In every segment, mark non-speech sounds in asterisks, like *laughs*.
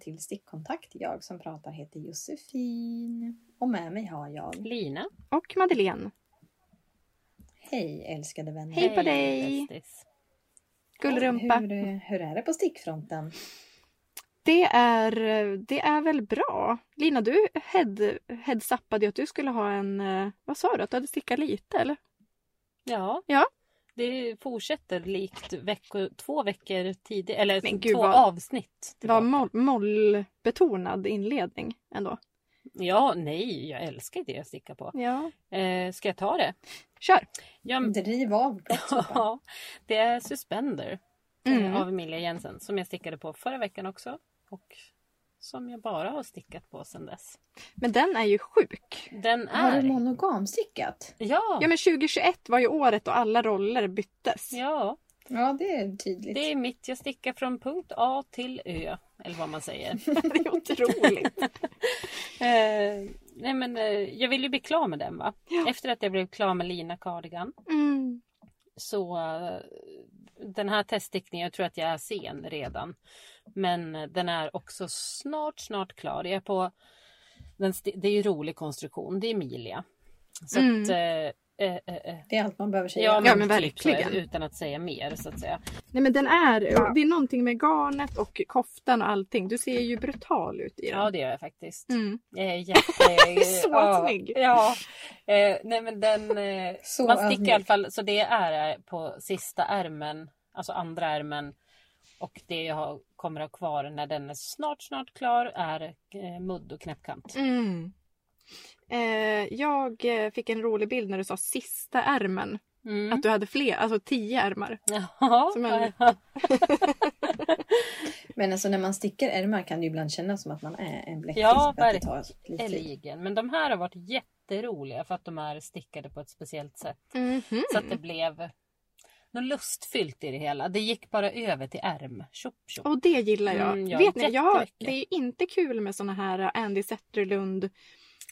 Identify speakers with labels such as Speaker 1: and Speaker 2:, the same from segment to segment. Speaker 1: till Stickkontakt. Jag som pratar heter Josefin. Och med mig har jag...
Speaker 2: Lina.
Speaker 3: Och Madeleine.
Speaker 1: Hej älskade vänner!
Speaker 3: Hej på dig.
Speaker 2: bästis.
Speaker 3: Gullrumpa.
Speaker 1: Hur, hur är det på stickfronten?
Speaker 3: Det är, det är väl bra. Lina, du head, headsappade ju att du skulle ha en... eh, Vad sa du? Att du hade stickat lite eller?
Speaker 2: Ja.
Speaker 3: Ja.
Speaker 2: Det fortsätter likt vecko, två veckor tidigare, eller
Speaker 3: Men gud,
Speaker 2: två
Speaker 3: vad-
Speaker 2: avsnitt.
Speaker 3: Det var
Speaker 2: tillbaka.
Speaker 3: moll- mollbetonad inledning ändå.
Speaker 2: Ja, nej, jag älskar det jag stickar på.
Speaker 3: Ja.
Speaker 2: Eh, ska jag ta det?
Speaker 3: Kör!
Speaker 2: Ja,
Speaker 3: *laughs*
Speaker 2: men-
Speaker 1: Driv av
Speaker 2: *laughs*
Speaker 1: brottsoffer!
Speaker 2: ja, det är Suspender eh,
Speaker 3: Mm.
Speaker 2: av Emilia Jensen som jag stickade på förra veckan också. Och som jag bara har stickat på sedan dess.
Speaker 3: Men den är ju sjuk.
Speaker 2: Den
Speaker 1: Har
Speaker 2: är...
Speaker 1: du monogamstickat?
Speaker 2: ja,
Speaker 3: Ja men 2021 var ju året då alla roller
Speaker 2: *laughs*
Speaker 3: byttes.
Speaker 2: ja,
Speaker 1: Ja, det är tydligt.
Speaker 2: det är mitt. Jag stickar från punkt A till Ö. Eller vad man säger.
Speaker 3: Det är otroligt.
Speaker 2: Eh, nej men eh, jag vill ju bli klar med den va.
Speaker 3: Ja.
Speaker 2: Efter att jag blev klar med Lina Cardigan
Speaker 3: *laughs* Mm.
Speaker 2: så eh, den här teststickningen, jag tror att jag är sen redan. Men eh, den är också snart, snart klar. Jag är på, den sti- det är ju rolig konstruktion, det är Emilia. Så
Speaker 3: Mm.
Speaker 2: att, eh, eh, eh, eh,
Speaker 1: Det är allt man behöver säga.
Speaker 2: Ja men, typ
Speaker 3: men
Speaker 2: så är det,
Speaker 3: verkligen.
Speaker 2: utan att säga mer så att säga.
Speaker 3: Nej men den är, det är någonting med garnet och koftan och allting. Du ser ju brutal ut i den.
Speaker 2: Ja det gör jag faktiskt.
Speaker 3: Mm. *laughs*
Speaker 2: Jag är Eh, jätte...
Speaker 3: Så
Speaker 2: ja,
Speaker 3: snygg.
Speaker 2: Ja. Eh, nej men den... Eh,
Speaker 1: Så
Speaker 2: man sticker i alla
Speaker 1: ödmjuk.
Speaker 2: fall, så det är eh, på sista ärmen, alltså andra ärmen. Och det jag har, kommer att ha kvar när den är snart, snart klar är eh, mudd och knäppkant.
Speaker 3: Mm. Eh, jag eh, fick en rolig bild när du sa sista ärmen.
Speaker 2: Mm.
Speaker 3: Att du hade fler, alltså tio ärmar.
Speaker 2: *laughs* Ja,
Speaker 3: Som en-
Speaker 1: Men alltså när man sticker ärmar kan det ju ibland kännas som att man är en bläckfisk.
Speaker 2: Ja,
Speaker 1: för att det tar lite tid.
Speaker 2: älgen. Men de här har varit jätteroliga för att de är stickade på ett speciellt sätt.
Speaker 3: Mm.
Speaker 2: Så att det blev något lustfyllt i det hela. Det gick bara över till ärm. Tjopp, tjopp.
Speaker 3: Och det gillar jag.
Speaker 2: Mm, ja,
Speaker 3: Vet ni, jag,
Speaker 2: jättemycket.
Speaker 3: det är ju inte kul med såna här eh, Andy Zetterlund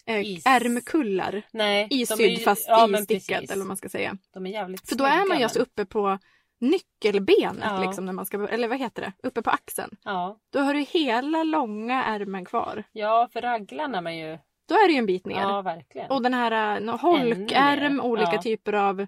Speaker 3: eh,
Speaker 2: Is.
Speaker 3: ärmkullar.
Speaker 2: Nej, de är
Speaker 3: Isydd
Speaker 2: ju-
Speaker 3: fast
Speaker 2: ja, men
Speaker 3: istickad
Speaker 2: precis.
Speaker 3: eller vad man ska säga.
Speaker 2: De är jävligt
Speaker 3: För då är man
Speaker 2: snygga,
Speaker 3: ju alltså
Speaker 2: men-
Speaker 3: uppe på nyckelbenet
Speaker 2: Ja.
Speaker 3: liksom när man ska, eller vad heter det, uppe på axeln.
Speaker 2: Ja.
Speaker 3: Då har du hela långa ärmen kvar.
Speaker 2: ja, för raglan är man ju...
Speaker 3: Då är det ju en bit ner.
Speaker 2: Ja, verkligen.
Speaker 3: Och den här eh, nå- holkärm,
Speaker 2: mer.
Speaker 3: olika
Speaker 2: Ja.
Speaker 3: typer av...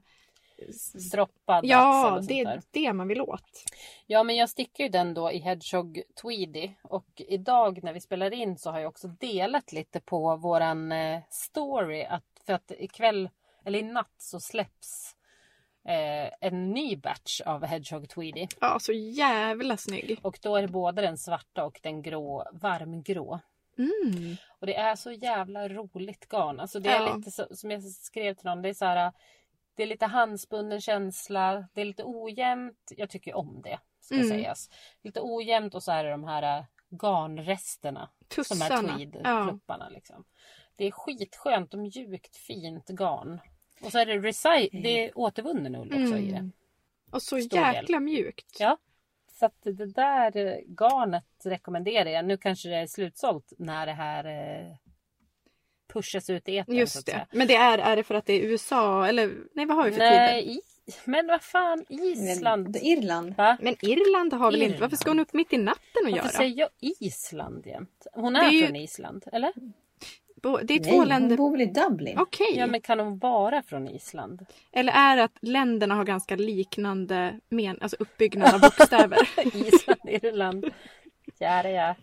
Speaker 2: Droppad axel
Speaker 3: Ja,
Speaker 2: och sånt
Speaker 3: det
Speaker 2: där.
Speaker 3: är det man vill åt.
Speaker 2: Ja, men jag stickar ju den då i Hedgehog Tweedy. Och idag när vi spelar in så har jag också delat lite på våran eh, story. Att, för att ikväll, eller i natt så släpps eh, en ny batch av Hedgehog Tweedy.
Speaker 3: Ja, så jävla snygg.
Speaker 2: Och då är det både den svarta och den grå, varmgrå.
Speaker 3: Mm.
Speaker 2: Och det är så jävla roligt garn. Alltså det är
Speaker 3: Ja.
Speaker 2: lite så, som jag skrev till någon. Det är så här, det är lite handspunnen känsla. Det är lite ojämnt. Jag tycker om det. Ska
Speaker 3: Mm.
Speaker 2: sägas. Lite ojämnt och så är det de här äh, garnresterna. Som
Speaker 3: Tussarna.
Speaker 2: är
Speaker 3: ja.
Speaker 2: tweedplupparna. Liksom. Det är skitskönt och mjukt fint garn. Och så är det, recy- det är återvunnen ull också i det.
Speaker 3: Mm. Och så
Speaker 2: Stor
Speaker 3: jäkla mjukt.
Speaker 2: Ja. Så att det där eh, garnet rekommenderar jag. Nu kanske det är slutsålt när det här eh, pushas ut i etern. så
Speaker 3: Just
Speaker 2: att säga.
Speaker 3: det. Men det är, är det för att det är USA eller nej vad har vi för tider?
Speaker 2: Nej, i, men vad fan,
Speaker 1: Men-
Speaker 2: Island.
Speaker 1: Irland.
Speaker 2: Va?
Speaker 3: Men Irland har väl inte,
Speaker 2: Irland.
Speaker 3: varför ska hon upp mitt i natten och
Speaker 2: Varför
Speaker 3: göra?
Speaker 2: säger jag Island jämt? Hon
Speaker 3: Det
Speaker 2: är,
Speaker 3: är ju-
Speaker 2: från Island, eller?
Speaker 3: Bo- Det är
Speaker 1: Nej,
Speaker 3: två
Speaker 1: hon
Speaker 3: länder.
Speaker 1: bor väl i Dublin?
Speaker 3: Okej.
Speaker 2: Ja, men kan hon vara från Island? *laughs*
Speaker 3: Eller är det att länderna har ganska liknande men, alltså uppbyggnad
Speaker 2: *laughs*
Speaker 3: av bokstäver?
Speaker 2: Island, Irland. Ja, det är.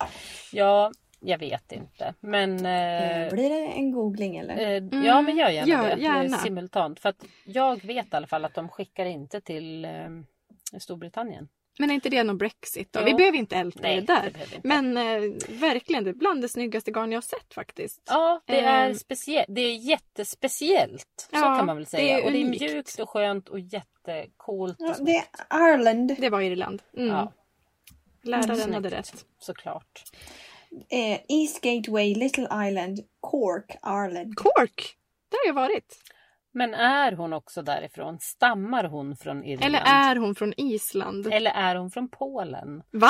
Speaker 2: Ja, jag vet inte. Men...
Speaker 3: Mm.
Speaker 2: Eh,
Speaker 1: Blir det en googling eller?
Speaker 2: eh, Ja, men gör gärna
Speaker 3: gör
Speaker 2: det.
Speaker 3: gärna.
Speaker 2: eh, Simultant. För att jag vet i alla fall att de skickar inte till eh, Storbritannien.
Speaker 3: Men är inte det någon Brexit då?
Speaker 2: Jo.
Speaker 3: Vi behöver inte älta det där.
Speaker 2: behöver vi inte.
Speaker 3: Men eh, verkligen, det är bland det snyggaste garn jag har sett faktiskt.
Speaker 2: Ja, det är,
Speaker 3: Ehm.
Speaker 2: specie- det är jättespeciellt. Så
Speaker 3: Ja,
Speaker 2: kan man väl
Speaker 3: det är
Speaker 2: säga. och det är
Speaker 3: unikt.
Speaker 2: mjukt och skönt och jättecoolt. Och
Speaker 1: Ja,
Speaker 2: så-
Speaker 1: det är Ireland.
Speaker 3: Det var Irland. Mm.
Speaker 2: Ja,
Speaker 3: Läraren
Speaker 2: Snyggt.
Speaker 3: hade rätt.
Speaker 2: såklart.
Speaker 1: Eh, East Gateway, Little Island, Cork, Ireland.
Speaker 3: Cork! Där har jag varit.
Speaker 2: Men är hon också därifrån? Stammar hon från Irland?
Speaker 3: Eller är hon från Island?
Speaker 2: Eller är hon från Polen?
Speaker 3: Va?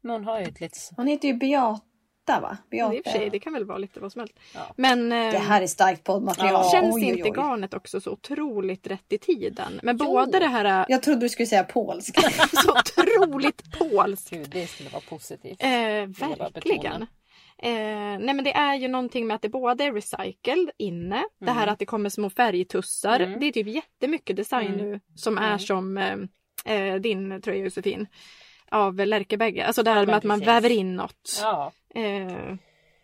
Speaker 2: Men hon har ju ett litet...
Speaker 1: Hon heter ju Beata åtta va?
Speaker 3: Det är
Speaker 1: Beate.
Speaker 3: i och för sig, det kan väl vara lite vad som helst.
Speaker 2: Ja.
Speaker 3: Men eh,
Speaker 1: Det här är starkt poddmaterial.
Speaker 2: Ja,
Speaker 3: känns
Speaker 1: Oj,
Speaker 3: inte
Speaker 1: oj, oj.
Speaker 3: garnet också så otroligt rätt i tiden? Men
Speaker 2: Jo.
Speaker 3: både det här eh,
Speaker 1: Jag trodde du skulle säga polsk.
Speaker 3: *laughs* så otroligt polskt.
Speaker 2: Gud, det skulle vara positivt.
Speaker 3: Eh,
Speaker 2: bara
Speaker 3: verkligen.
Speaker 2: betona.
Speaker 3: Eh, nej men det är ju någonting med att det både är recycled inne, det här
Speaker 2: Mm.
Speaker 3: att det kommer små färgtussar.
Speaker 2: Mm.
Speaker 3: Det är typ jättemycket design
Speaker 2: Mm.
Speaker 3: nu som är
Speaker 2: Mm.
Speaker 3: som eh, eh, din tröja Josefin. Av Lärkebägge. Alltså det här
Speaker 2: Ja,
Speaker 3: med
Speaker 2: men
Speaker 3: att man
Speaker 2: precis.
Speaker 3: väver in något.
Speaker 2: Ja.
Speaker 3: Eh,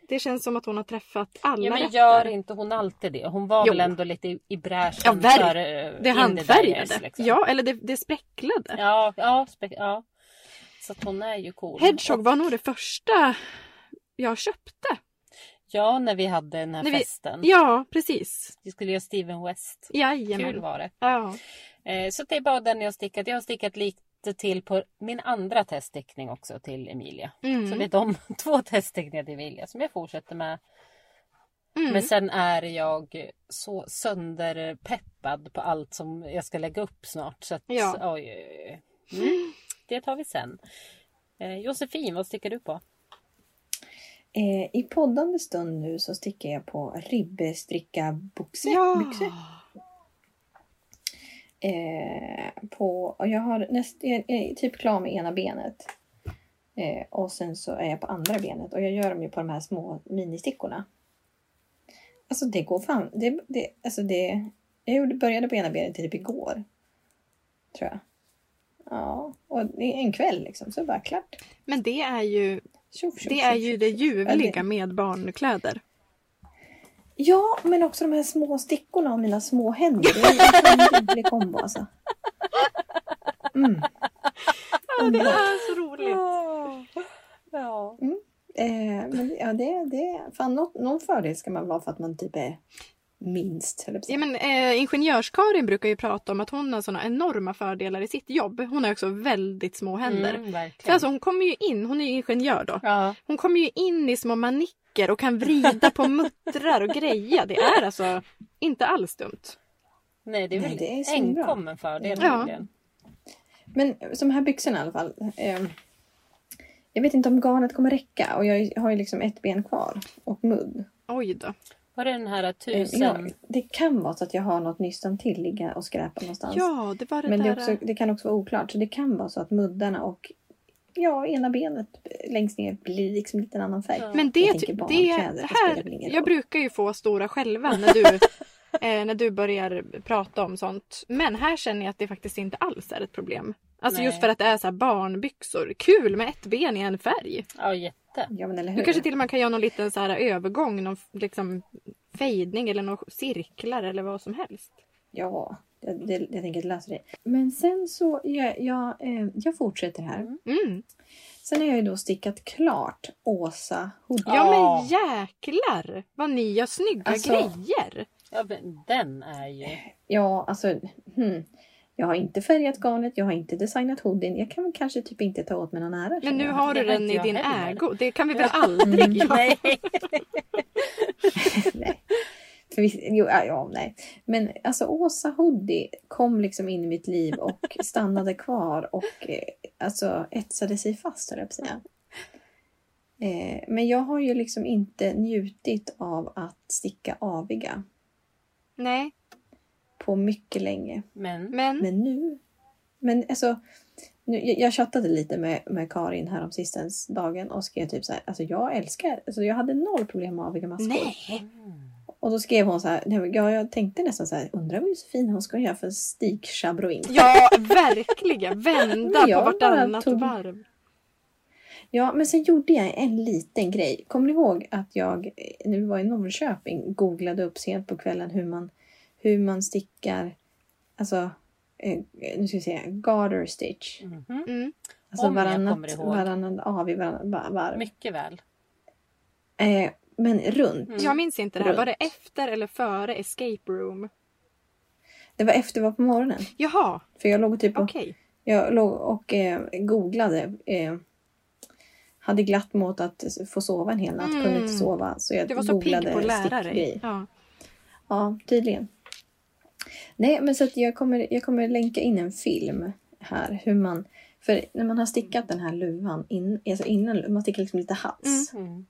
Speaker 3: det känns som att hon har träffat alla
Speaker 2: ja, men
Speaker 3: rätter.
Speaker 2: gör inte hon alltid det? Hon var
Speaker 3: Jo.
Speaker 2: väl ändå lite i- i bräschen
Speaker 3: Ja, verk-
Speaker 2: för eh,
Speaker 3: Det
Speaker 2: indie
Speaker 3: handfärgade.
Speaker 2: dyers, liksom.
Speaker 3: Ja, eller det, det spräcklade.
Speaker 2: Ja, ja, spe- ja. Så att hon är ju cool.
Speaker 3: Hedgehog
Speaker 2: Och-
Speaker 3: var nog det första jag köpte.
Speaker 2: Ja, när vi hade den här
Speaker 3: När vi-
Speaker 2: festen.
Speaker 3: Ja, precis.
Speaker 2: Vi skulle göra Steven West. Kul
Speaker 3: Jajamän.
Speaker 2: var det.
Speaker 3: Ja.
Speaker 2: Eh, Så det är bara den jag har stickat. Jag har stickat lite till på min andra teststickning också till Emilia.
Speaker 3: Mm.
Speaker 2: Så det är de *laughs* två teststickningar till Emilia som jag fortsätter med.
Speaker 3: Mm.
Speaker 2: Men sen är jag så sönderpeppad på allt som jag ska lägga upp snart. Så att,
Speaker 3: Ja.
Speaker 2: oj, oj, oj. Mm. Det tar vi sen. Eh, Josefin, vad stickar du på?
Speaker 1: Eh, I poddande stund nu så stickar jag på ribbestricka-byxor.
Speaker 3: ja.
Speaker 1: byxor. Eh, på, och jag, har näst, jag är typ klar med ena benet. Eh, och sen så är jag på andra benet och jag gör dem ju på de här små ministickorna. Alltså det går fan. Det, det, alltså det, jag gjorde, började på ena benet typ igår. Tror jag. Ja, och det är en kväll liksom så är det bara klart.
Speaker 3: Men det är ju
Speaker 1: Tjoff, tjoff,
Speaker 3: det, är
Speaker 1: tjoff,
Speaker 3: ju
Speaker 1: tjoff,
Speaker 3: det
Speaker 1: tjoff. Ja,
Speaker 3: ljuvliga
Speaker 1: det-
Speaker 3: med barnkläder.
Speaker 1: Ja, men också de här små stickorna och mina små händer. Det är en *laughs* sån ljuvlig kombo alltså. Mm. Underbart.
Speaker 3: är så roligt.
Speaker 2: Ja.
Speaker 1: Eh, men ja, det, det, fan, nå, någon fördel ska man vara för att man typ är minst. höll jag på att säga.
Speaker 3: Ja, men, eh, ingenjörskarin brukar ju prata om att hon har sådana enorma fördelar i sitt jobb. Hon har också väldigt små händer.
Speaker 2: Mm,
Speaker 3: För
Speaker 2: verkligen.
Speaker 3: alltså, hon kommer ju in, hon är ju ingenjör då.
Speaker 2: ja.
Speaker 3: Hon kommer ju in i små manicker och kan vrida på muttrar och greja. Det är alltså inte alls dumt.
Speaker 2: Nej, det är
Speaker 1: Nej,
Speaker 2: väl
Speaker 1: det är svinbra.
Speaker 2: enkom en fördel.
Speaker 3: Ja.
Speaker 2: egentligen.
Speaker 1: Men som här byxorna i alla fall. Eh, jag vet inte om garnet kommer räcka och jag har ju liksom ett ben kvar och mudd.
Speaker 3: Oj då.
Speaker 2: Var det den här
Speaker 1: Eh,
Speaker 2: tusen?
Speaker 1: jag, det kan vara så att jag har något nystan till ligga och skräpa någonstans.
Speaker 3: Ja, det var det
Speaker 1: men det,
Speaker 3: där. eh,
Speaker 1: är också, det kan också vara oklart. Så det kan vara så att muddarna och ja, ena benet längst ner blir liksom lite en annan färg.
Speaker 2: Ja.
Speaker 3: Men det,
Speaker 1: Jag
Speaker 3: ty-
Speaker 1: tänker
Speaker 3: det,
Speaker 1: barnkläder, det
Speaker 3: det
Speaker 1: spelar väl
Speaker 3: här,
Speaker 1: ingen
Speaker 3: jag
Speaker 1: roll.
Speaker 3: brukar ju få stora själva när du, eh, när du börjar prata om sånt. Men här känner jag att det faktiskt inte alls är ett problem. Alltså
Speaker 2: Nej.
Speaker 3: just för att det är så här barnbyxor. Kul med ett ben i en färg.
Speaker 2: Ja, jätte.
Speaker 1: Ja, men eller
Speaker 3: Du
Speaker 1: hur?
Speaker 3: kanske till och med kan göra någon liten så här övergång, någon f- liksom fejdning eller några cirklar eller vad som helst.
Speaker 1: Ja, jag,
Speaker 3: Mm.
Speaker 1: det, jag tänker lösa det. Men sen så, jag, jag, eh, jag fortsätter här.
Speaker 2: Mm.
Speaker 3: Mm.
Speaker 1: Sen har jag ju då stickat klart Åsa Hoodie.
Speaker 3: Ja
Speaker 2: Ja.
Speaker 3: men jäklar vad ni gör snygga
Speaker 1: Alltså,
Speaker 3: grejer!
Speaker 2: Ja, men den är ju...
Speaker 1: *laughs* Ja, alltså. Hmm. Jag har inte färgat garnet, jag har inte designat hoodien. Jag kan väl kanske typ inte ta åt mig någon ära.
Speaker 3: Men
Speaker 1: känner
Speaker 3: nu
Speaker 1: jag.
Speaker 3: har du
Speaker 2: det har
Speaker 3: den
Speaker 2: inte
Speaker 3: i
Speaker 2: jag
Speaker 3: din
Speaker 2: heller.
Speaker 3: ägo. Det kan vi väl aldrig
Speaker 1: Mm.
Speaker 3: göra?
Speaker 2: *laughs* Nej.
Speaker 1: *laughs* nej. För visst, jo, ja, ja, nej. Men alltså Åsa Hoodie kom liksom in i mitt liv och stannade kvar och eh, alltså etsade sig fast höll jag på att säga. Eh, men jag har ju liksom inte njutit av att sticka aviga
Speaker 3: Nej,
Speaker 1: på mycket länge.
Speaker 2: Men
Speaker 3: men
Speaker 1: Men nu... Men alltså, nu, jag, jag chattade lite med, med Karin här om sistens dagen och skrev typ så här, alltså jag älskar, alltså jag hade noll problem med aviga maskor.
Speaker 3: nej.
Speaker 2: Mm.
Speaker 1: Och då skrev hon så här, nej, men jag, jag tänkte nästan så här, undrar vad Josefin hon ska göra för stickschabroin.
Speaker 3: Ja, verkligen. Vända
Speaker 1: Men jag
Speaker 3: på
Speaker 1: bara
Speaker 3: vartannat
Speaker 1: tog-
Speaker 3: varv.
Speaker 1: Ja, men sen gjorde jag en liten grej. Kommer ni ihåg att jag, eh, när vi var i Norrköping, googlade upp sent på kvällen hur man, hur man stickar, alltså, eh, nu ska vi se, garter stitch.
Speaker 2: Mhm.
Speaker 3: Mm.
Speaker 1: Alltså
Speaker 2: Om jag kommer
Speaker 1: varannat,
Speaker 2: ihåg.
Speaker 1: varannan av i varannan va- varv.
Speaker 2: Mycket väl.
Speaker 1: Eh, men runt.
Speaker 2: Mm.
Speaker 3: Jag minns inte det här. Var det
Speaker 1: Runt.
Speaker 3: efter eller före escape room?
Speaker 1: Det var efter det var på morgonen.
Speaker 3: Jaha,
Speaker 1: För jag låg typ och,
Speaker 3: okej.
Speaker 1: jag låg och eh, googlade. Eh, hade glatt mot att få sova en hel natt.
Speaker 3: Mm.
Speaker 1: Kunde inte sova. Så jag
Speaker 3: Du var så
Speaker 1: googlade
Speaker 3: pigg på att lära dig.
Speaker 1: stickgrej.
Speaker 3: Ja.
Speaker 1: Ja, tydligen. Nej, men så att jag kommer, jag kommer länka in en film här. Hur man, för när man har stickat den här luvan in, alltså innan, man stickar liksom lite hals.
Speaker 3: Mm.
Speaker 2: Mm.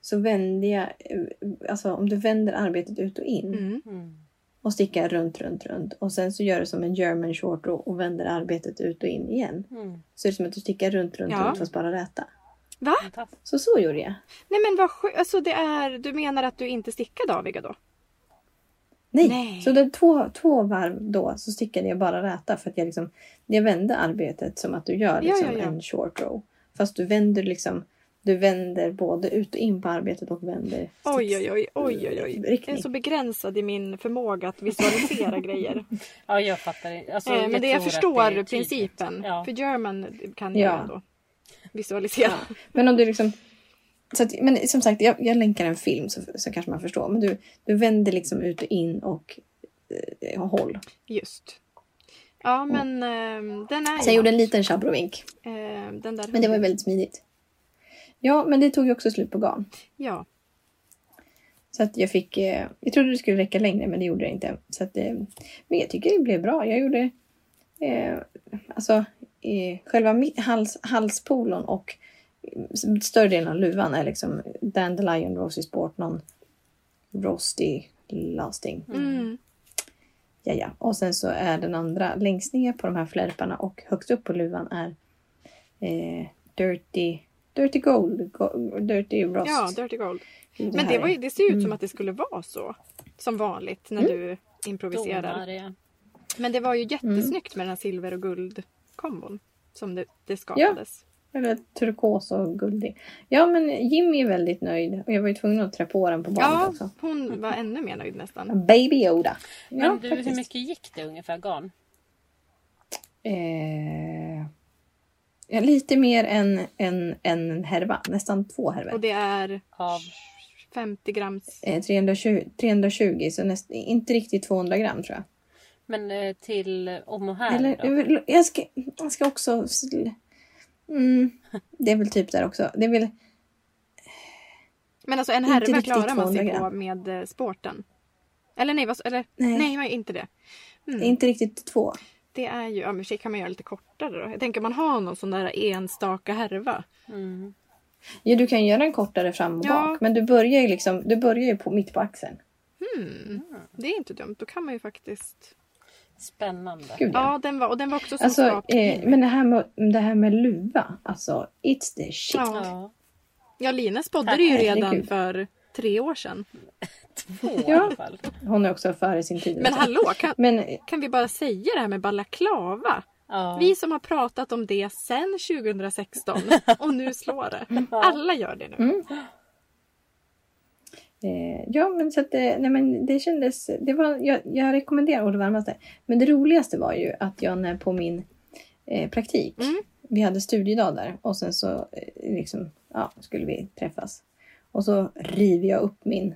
Speaker 1: så vände jag, eh, alltså om du vänder arbetet ut och in
Speaker 3: Mm.
Speaker 2: Mm.
Speaker 1: och stickar runt, runt, runt och sen så gör du som en German short och, och vänder arbetet ut och in igen.
Speaker 2: Mm.
Speaker 1: Så är det som att du stickar runt, runt,
Speaker 3: Ja.
Speaker 1: runt fast bara räta.
Speaker 2: Fantastiskt.
Speaker 1: Så så gjorde jag.
Speaker 3: Nej men vad skönt. Alltså det är, du menar att du inte stickade aviga då?
Speaker 1: Nej.
Speaker 3: Nej.
Speaker 1: Så det två, två varv då så stickade jag bara räta för att jag liksom, jag vände arbetet som att du gör
Speaker 3: Ja,
Speaker 1: liksom
Speaker 3: ja, ja.
Speaker 1: en short row. Fast du vänder liksom, du vänder både ut och in på arbetet och vänder
Speaker 3: Oj
Speaker 1: sticks-
Speaker 3: oj oj oj oj oj. Jag
Speaker 1: riktning.
Speaker 3: är så begränsad i min förmåga
Speaker 1: *laughs*
Speaker 3: att visualisera grejer.
Speaker 2: Ja, jag fattar. Alltså,
Speaker 3: Eh, men det jag
Speaker 2: tror att
Speaker 3: förstår
Speaker 2: det är typ tydligt.
Speaker 3: principen.
Speaker 2: Ja.
Speaker 3: För German kan jag
Speaker 1: Ja.
Speaker 3: ju ändå visualisera.
Speaker 1: Men om du liksom... Så att, men som sagt, jag, jag länkar en film så, så kanske man förstår. Men du, du vänder liksom ut och in och eh, håll.
Speaker 3: *laughs* Just. Ja men ehm, den är
Speaker 1: Så jag
Speaker 3: ju
Speaker 1: gjorde en
Speaker 3: något.
Speaker 1: liten schabrovink.
Speaker 3: Ehm, den där.
Speaker 1: Men det var ju väldigt smidigt. Ja, men det tog ju också slut på garn.
Speaker 3: Ja.
Speaker 1: Så att jag fick... Eh, jag trodde det skulle räcka längre, men det gjorde det inte. Så att, eh, men jag tycker det blev bra. Jag gjorde... Eh, alltså, eh, själva mi- hals, halspolon och eh, större delen av luvan är liksom Dandelion Rosy Sport, någon Roasty Lasting.
Speaker 3: Mm.
Speaker 1: Ja, ja. Och sen så är den andra längst ner på de här flärparna och högst upp på luvan är eh, Dirty Dirty Gold, go, Dirty Rust.
Speaker 3: Ja, Dirty Gold.
Speaker 1: Det
Speaker 3: Men det,
Speaker 1: här
Speaker 3: var ju,
Speaker 1: är-
Speaker 3: det ser ju ut som
Speaker 1: Mm.
Speaker 3: att det skulle vara så. Som vanligt när du improviserar.
Speaker 2: Domare, ja.
Speaker 3: Men det
Speaker 1: Mm.
Speaker 3: var ju jättesnyggt med den här silver och guldkombon. Som det, det skapades.
Speaker 1: Eller turkos och guldig. Ja, men Jimmy är väldigt nöjd och jag var ju tvungen att trä på den på barnet
Speaker 3: Ja,
Speaker 1: också.
Speaker 3: hon var ännu mer nöjd nästan.
Speaker 1: Baby Yoda.
Speaker 2: Men
Speaker 1: Ja,
Speaker 2: du, hur
Speaker 1: faktiskt.
Speaker 2: mycket gick det ungefär garn?
Speaker 1: Eh, ja, lite mer än en, en härva, nästan två
Speaker 3: Och
Speaker 1: härvor.
Speaker 3: det är
Speaker 2: Av...
Speaker 3: 50 grams.
Speaker 1: Eh, 320, 320 så näst, inte riktigt 200 gram tror jag.
Speaker 2: Men eh, till om och här
Speaker 1: Eller,
Speaker 2: då?
Speaker 1: jag vill- jag, ska, jag ska också... sl- Mm, det är väl typ där också. Det är väl,
Speaker 3: Men alltså en
Speaker 1: Inte
Speaker 3: härva
Speaker 1: riktigt
Speaker 3: klarar man sig
Speaker 1: 200
Speaker 3: på
Speaker 1: gram.
Speaker 3: med eh, sporten. Eller nej, vad, eller,
Speaker 1: Nej.
Speaker 3: nej. man gör inte det. Mm.
Speaker 1: Inte riktigt två.
Speaker 3: Det är ju, ja men i och för sig kan man göra lite kortare då. Jag tänker om man har någon sån där enstaka härva.
Speaker 2: Mm.
Speaker 1: Ja, du kan göra den kortare fram och
Speaker 3: Ja.
Speaker 1: bak. Men du börjar ju, liksom, du börjar ju på, mitt på axeln.
Speaker 3: Hmm. Det är inte dumt, då kan man ju faktiskt.
Speaker 2: Spännande.
Speaker 1: Gud, ja.
Speaker 3: Ja, den var, och den var också som
Speaker 1: Alltså,
Speaker 3: skapad.
Speaker 1: eh, men det här, med, det här med luva. Alltså, it's the shit.
Speaker 3: ja.
Speaker 2: Ja,
Speaker 3: ja, Lina spådde
Speaker 2: Tack,
Speaker 3: det ju redan
Speaker 1: herregud.
Speaker 3: för tre år sedan.
Speaker 2: två i
Speaker 1: Ja.
Speaker 2: alla fall.
Speaker 1: Hon är också före sin tid. alltså.
Speaker 3: Men hallå, kan,
Speaker 1: Men, eh,
Speaker 3: kan vi bara säga det här med balaklava?
Speaker 2: Ja.
Speaker 3: Vi som har pratat om det sedan 2016 och nu slår det. Alla gör det nu.
Speaker 1: eh, ja, men så att det, nej, men det kändes... Det var, jag, jag rekommenderar och det varmaste. Men det roligaste var ju att jag när på min eh, praktik.
Speaker 3: Mm.
Speaker 1: Vi hade studiedag där och sen så eh, liksom, ja, skulle vi träffas. Och så river jag upp min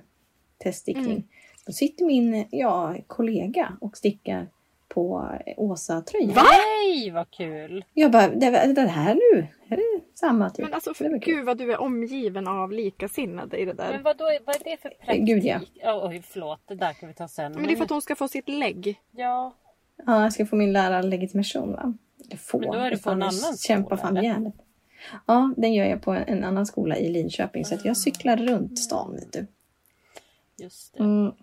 Speaker 1: teststickning.
Speaker 3: Mm.
Speaker 1: Då sitter min eh, ja, kollega och stickar på eh, Åsa-tröjan.
Speaker 2: Nej, vad kul!
Speaker 1: Jag bara, det, det det här nu, är det samma typ?
Speaker 3: Men alltså
Speaker 1: Det var kul.
Speaker 3: gud vad du är omgiven av likasinnade i det
Speaker 2: Men
Speaker 3: där.
Speaker 2: vad, då, vad är det för praktik?
Speaker 1: Gud, ja.
Speaker 2: Ja, oj, förlåt, det där kan vi ta sen. Mm.
Speaker 3: Men det är för att hon ska få sitt lägg.
Speaker 2: Ja,
Speaker 1: Ja, jag ska få min lärarlegitimation va? Eller få.
Speaker 2: Men då är det på
Speaker 1: Fan,
Speaker 2: en
Speaker 1: jag
Speaker 2: annan
Speaker 1: Kämpa
Speaker 2: skola,
Speaker 1: fan
Speaker 2: eller?
Speaker 1: järnet. Ja, den gör jag på en, en annan skola i Linköping så att jag cyklar runt stan vet du.
Speaker 2: just det.
Speaker 1: Mm.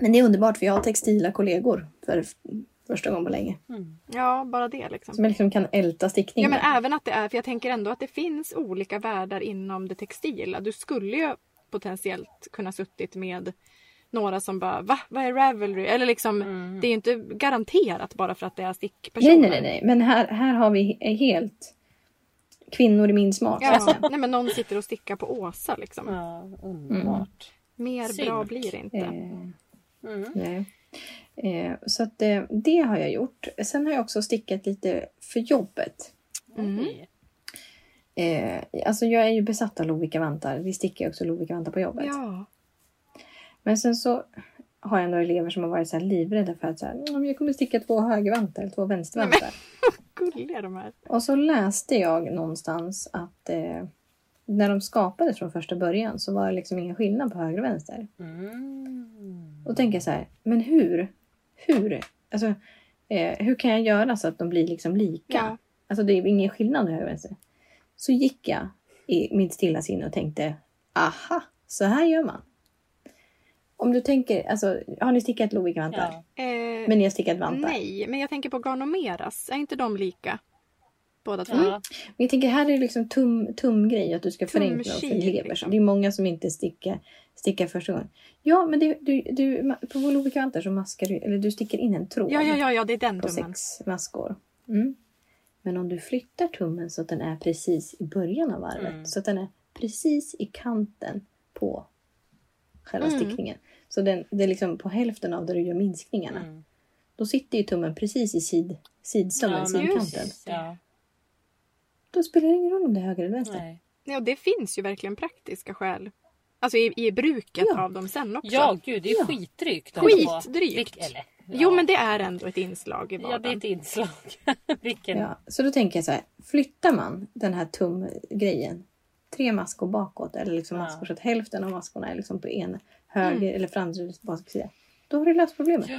Speaker 1: Men det är underbart för jag har textila kollegor för f- första gången på länge.
Speaker 2: Mm.
Speaker 3: Ja, bara det liksom.
Speaker 1: Som jag liksom kan älta stickning
Speaker 3: Ja men
Speaker 1: med.
Speaker 3: även att det är, för jag tänker ändå att det finns olika världar inom det textila. Du skulle ju potentiellt kunna suttit med några som bara va? Vad är Ravelry? Eller liksom
Speaker 2: Mm.
Speaker 3: det är ju inte garanterat bara för att det är stickpersoner.
Speaker 1: Nej, nej, nej, nej. Men här, här har vi he- helt kvinnor i min smak. så att
Speaker 3: Ja,
Speaker 1: säga.
Speaker 3: *laughs* nej men någon sitter och stickar på Åsa liksom.
Speaker 1: Mm.
Speaker 2: Ja, underbart.
Speaker 3: Mer
Speaker 2: Synk.
Speaker 3: bra blir det inte.
Speaker 1: Eh,
Speaker 2: Mm.
Speaker 1: nej. Eh, så att eh, det har jag gjort. Sen har jag också stickat lite för jobbet.
Speaker 3: Mm.
Speaker 2: Oj.
Speaker 1: Eh, alltså jag är ju besatt av Lovikka vantar. Vi stickar ju också Lovikka vantar på jobbet.
Speaker 3: Ja.
Speaker 1: Men sen så har jag några elever som har varit så här livrädda för att så här, "Mm, jag kommer sticka två högervantar eller två vänstervantar.
Speaker 3: Gulliga de här.
Speaker 1: Och så läste jag någonstans att eh, när de skapades från första början så var det liksom ingen skillnad på höger och vänster.
Speaker 2: Mm.
Speaker 1: Och då tänker jag så här, men hur? Hur? Alltså, eh, hur kan jag göra så att de blir liksom lika?
Speaker 3: Ja.
Speaker 1: Alltså det är ingen skillnad höger och vänster. Så gick jag i mitt stilla sinne och tänkte aha, så här gör man. Om du tänker, alltså har ni stickat Lovikvantar?
Speaker 2: Ja.
Speaker 3: Eh,
Speaker 1: Men ni har stickat vantar?
Speaker 3: nej, men jag tänker på Garnomeras. Är inte de lika? Båda
Speaker 1: Mm.
Speaker 3: två?
Speaker 2: Ja.
Speaker 1: Men jag tänker här är det liksom tum, tumgrej, att du ska förenkla och
Speaker 3: Tumkil,
Speaker 1: för elever.
Speaker 3: liksom.
Speaker 1: Det är många som inte stickar, stickar första gången. Ja, men det, du, du, ma- på Lovikvantar så maskar du, eller du sticker in en tråd
Speaker 3: Ja, ja, ja, ja, det är den
Speaker 1: på
Speaker 3: tummen.
Speaker 1: sex maskor. Mm. Men om du flyttar tummen så att den är precis i början av varvet,
Speaker 2: Mm.
Speaker 1: så att den är precis i kanten på själva
Speaker 3: Mm.
Speaker 1: stickningen. Så den, det är liksom på hälften av där du gör minskningarna.
Speaker 2: Mm.
Speaker 1: Då sitter ju tummen precis i sid, sidstummen,
Speaker 2: Ja, men
Speaker 1: sidkanten.
Speaker 3: precis.
Speaker 2: Ja,
Speaker 1: Då spelar det ingen roll om det är höger eller vänster.
Speaker 2: nej.
Speaker 3: Ja, det finns ju verkligen praktiska skäl. Alltså i, i bruket
Speaker 1: Ja.
Speaker 3: av dem sen också.
Speaker 2: ja gud det är
Speaker 1: Ja.
Speaker 2: skitdrygt.
Speaker 3: Skitdrygt.
Speaker 2: Eller, ja.
Speaker 3: Jo, men det är ändå ett inslag i
Speaker 2: Ja,
Speaker 3: vardagen.
Speaker 2: det är ett inslag. *laughs* Vilken...
Speaker 1: Ja, så då tänker jag så här, flyttar man den här tumgrejen tre maskor bakåt eller liksom
Speaker 2: Ja. Mm.
Speaker 1: maskor så att hälften av maskorna är liksom på en höger eller framsida baksida. Då har du löst problemet.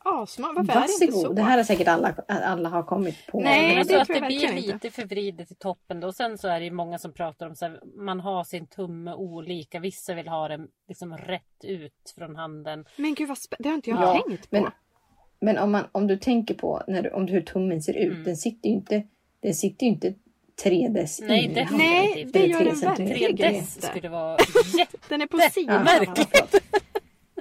Speaker 3: Assmart. Varför är det inte så?
Speaker 1: Varsågod! Det här är säkert alla, alla har kommit på.
Speaker 3: Nej,
Speaker 2: Nej,
Speaker 1: Men
Speaker 2: alltså
Speaker 3: det
Speaker 2: att
Speaker 3: tror
Speaker 2: det
Speaker 3: jag
Speaker 2: blir
Speaker 3: verkligen inte.
Speaker 2: lite förvridet i toppen då. Och sen så är det ju många som pratar om så här, man har sin tumme olika. Vissa vill ha den liksom rätt ut från handen.
Speaker 3: Men gud, vad spä- det har inte jag
Speaker 1: Ja,
Speaker 3: tänkt på.
Speaker 1: men- Men om, man, om du tänker på när du, om du, hur tummen ser ut.
Speaker 2: Mm.
Speaker 1: Den sitter ju inte, den sitter ju inte tre dec
Speaker 2: Nej,
Speaker 1: in i
Speaker 2: det-
Speaker 1: handen.
Speaker 3: Nej,
Speaker 2: definitivt.
Speaker 3: det
Speaker 1: Eller
Speaker 3: gör
Speaker 1: tre
Speaker 3: den
Speaker 1: centimeter.
Speaker 3: verkligen
Speaker 1: Tre
Speaker 3: inte.
Speaker 1: dec.
Speaker 2: Tredess skulle
Speaker 3: *laughs*
Speaker 2: vara jätte...
Speaker 3: Den är på sidan.
Speaker 2: märkligt.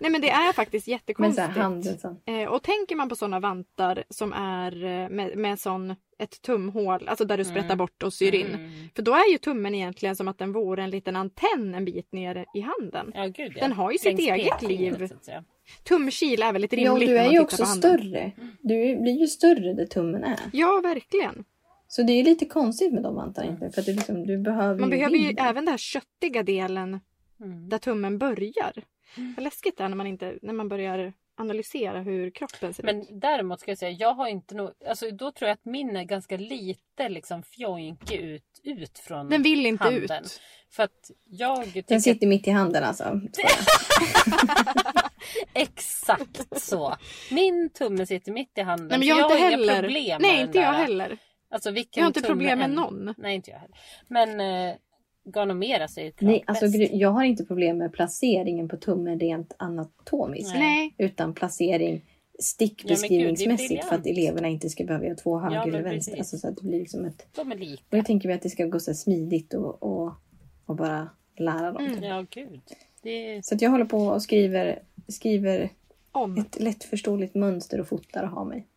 Speaker 3: Nej, men det är faktiskt
Speaker 1: Men så här,
Speaker 3: jättekonstigt.
Speaker 1: handen så.
Speaker 3: Eh, och tänker man på sådana vantar som är eh, med, med sån, ett tumhål, alltså där du sprättar
Speaker 2: Mm.
Speaker 3: bort och syr in.
Speaker 2: Mm.
Speaker 3: För då är ju tummen egentligen som att den vore en liten antenn en bit ner i handen.
Speaker 2: Ja, gud, ja.
Speaker 3: Den har ju sitt
Speaker 2: Längs
Speaker 3: eget
Speaker 2: pekfingret,
Speaker 3: liv.
Speaker 2: så att säga.
Speaker 3: Tumkil är väldigt
Speaker 1: Ja, och
Speaker 3: rimligt
Speaker 1: du
Speaker 3: när
Speaker 1: är
Speaker 3: man
Speaker 1: ju
Speaker 3: tittar
Speaker 1: också
Speaker 3: på handen.
Speaker 1: större. Du blir ju större där tummen är.
Speaker 3: Ja, verkligen.
Speaker 1: Så det är lite konstigt med de vantarna egentligen. För att det är liksom, du behöver
Speaker 3: Mm. Man behöver ju
Speaker 1: vidden.
Speaker 3: även den här köttiga delen
Speaker 2: Mm.
Speaker 3: där tummen börjar. Vad läskigt det är när man, inte, när man börjar analysera hur kroppen ser ut.
Speaker 2: Men däremot ska jag säga, jag har inte nog... Alltså då tror jag att min är ganska lite liksom fjojnkig ut, ut från
Speaker 3: Den vill inte
Speaker 2: handen.
Speaker 3: ut.
Speaker 2: För att jag tycker
Speaker 1: Den sitter mitt i handen alltså.
Speaker 2: exakt så. Min tumme sitter mitt i handen.
Speaker 3: Nej, men
Speaker 2: så
Speaker 3: jag har inte
Speaker 2: har inga
Speaker 3: heller.
Speaker 2: problem med
Speaker 3: Nej,
Speaker 2: den
Speaker 3: inte jag
Speaker 2: där.
Speaker 3: heller.
Speaker 2: Alltså, vilken
Speaker 3: Jag har inte
Speaker 2: tumme
Speaker 3: problem med
Speaker 2: än.
Speaker 3: någon.
Speaker 2: Nej, inte jag heller. Men eh, Ganomeras är ju klart
Speaker 1: Nej, alltså,
Speaker 2: bäst.
Speaker 1: gre- jag har inte problem med placeringen på tummen rent anatomiskt.
Speaker 2: Nej.
Speaker 3: Nej.
Speaker 1: Utan placering
Speaker 2: Ja, men gud,
Speaker 1: stickbeskrivningsmässigt
Speaker 2: det är
Speaker 1: för att eleverna inte ska behöva göra två höger
Speaker 2: Ja, men
Speaker 1: eller vänster.
Speaker 2: precis.
Speaker 1: Alltså, så att det blir liksom ett...
Speaker 2: De är lika.
Speaker 1: Och jag tänker mig att det ska gå så här smidigt och, och, och bara lära dem.
Speaker 3: Mm.
Speaker 2: Ja, gud. Det är...
Speaker 1: Så att jag håller på och skriver, skriver
Speaker 3: Om.
Speaker 1: ett lättförståeligt mönster och fotar och har mig.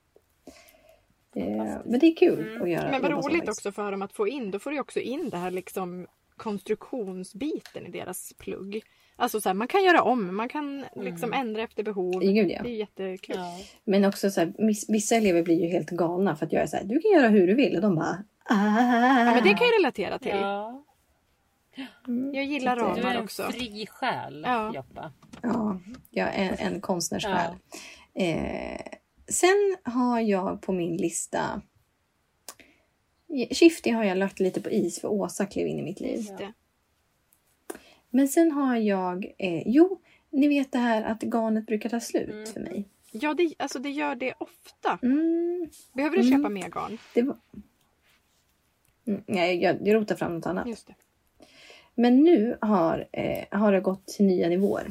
Speaker 1: Eh,
Speaker 2: Fantastiskt.
Speaker 1: men det är kul
Speaker 2: Mm.
Speaker 1: att göra.
Speaker 3: Men vad
Speaker 1: jobba så
Speaker 3: roligt
Speaker 1: faktiskt.
Speaker 3: också för dem att få in. Då får du ju också in det här liksom konstruktionsbiten i deras plugg. Alltså så här, man kan göra om, man kan liksom ändra efter behov.
Speaker 1: Gud, ja.
Speaker 3: Det är ju jättekul.
Speaker 2: Mm. Ja.
Speaker 1: Men också så här, miss- vissa elever blir ju helt galna för att jag är så här, du kan göra hur du vill och de bara
Speaker 3: Ja,
Speaker 1: "Ah."
Speaker 3: men det kan jag relatera till.
Speaker 2: Ja.
Speaker 1: Mm.
Speaker 3: Jag gillar
Speaker 1: Så att
Speaker 2: Du
Speaker 1: det-
Speaker 2: är
Speaker 3: ramar
Speaker 2: en
Speaker 3: också.
Speaker 2: fri själ,
Speaker 3: Ja.
Speaker 2: Joppa.
Speaker 1: Ja, jag är en, en konstnärssjäl. Eh, sen har jag på min lista eh, Shifty har jag lagt lite på is för Åsa klev in i mitt liv.
Speaker 3: Just det.
Speaker 1: Men sen har jag, eh, jo, ni vet det här att garnet brukar ta slut
Speaker 2: Mm.
Speaker 1: för mig.
Speaker 3: Ja, det, alltså det gör det ofta.
Speaker 1: Mm,
Speaker 3: Behöver du
Speaker 1: Mm.
Speaker 3: köpa mer garn?
Speaker 1: det var... Mm, nej, jag, jag rotar fram något annat.
Speaker 3: Just det.
Speaker 1: Men nu har, eh, har det gått till nya nivåer.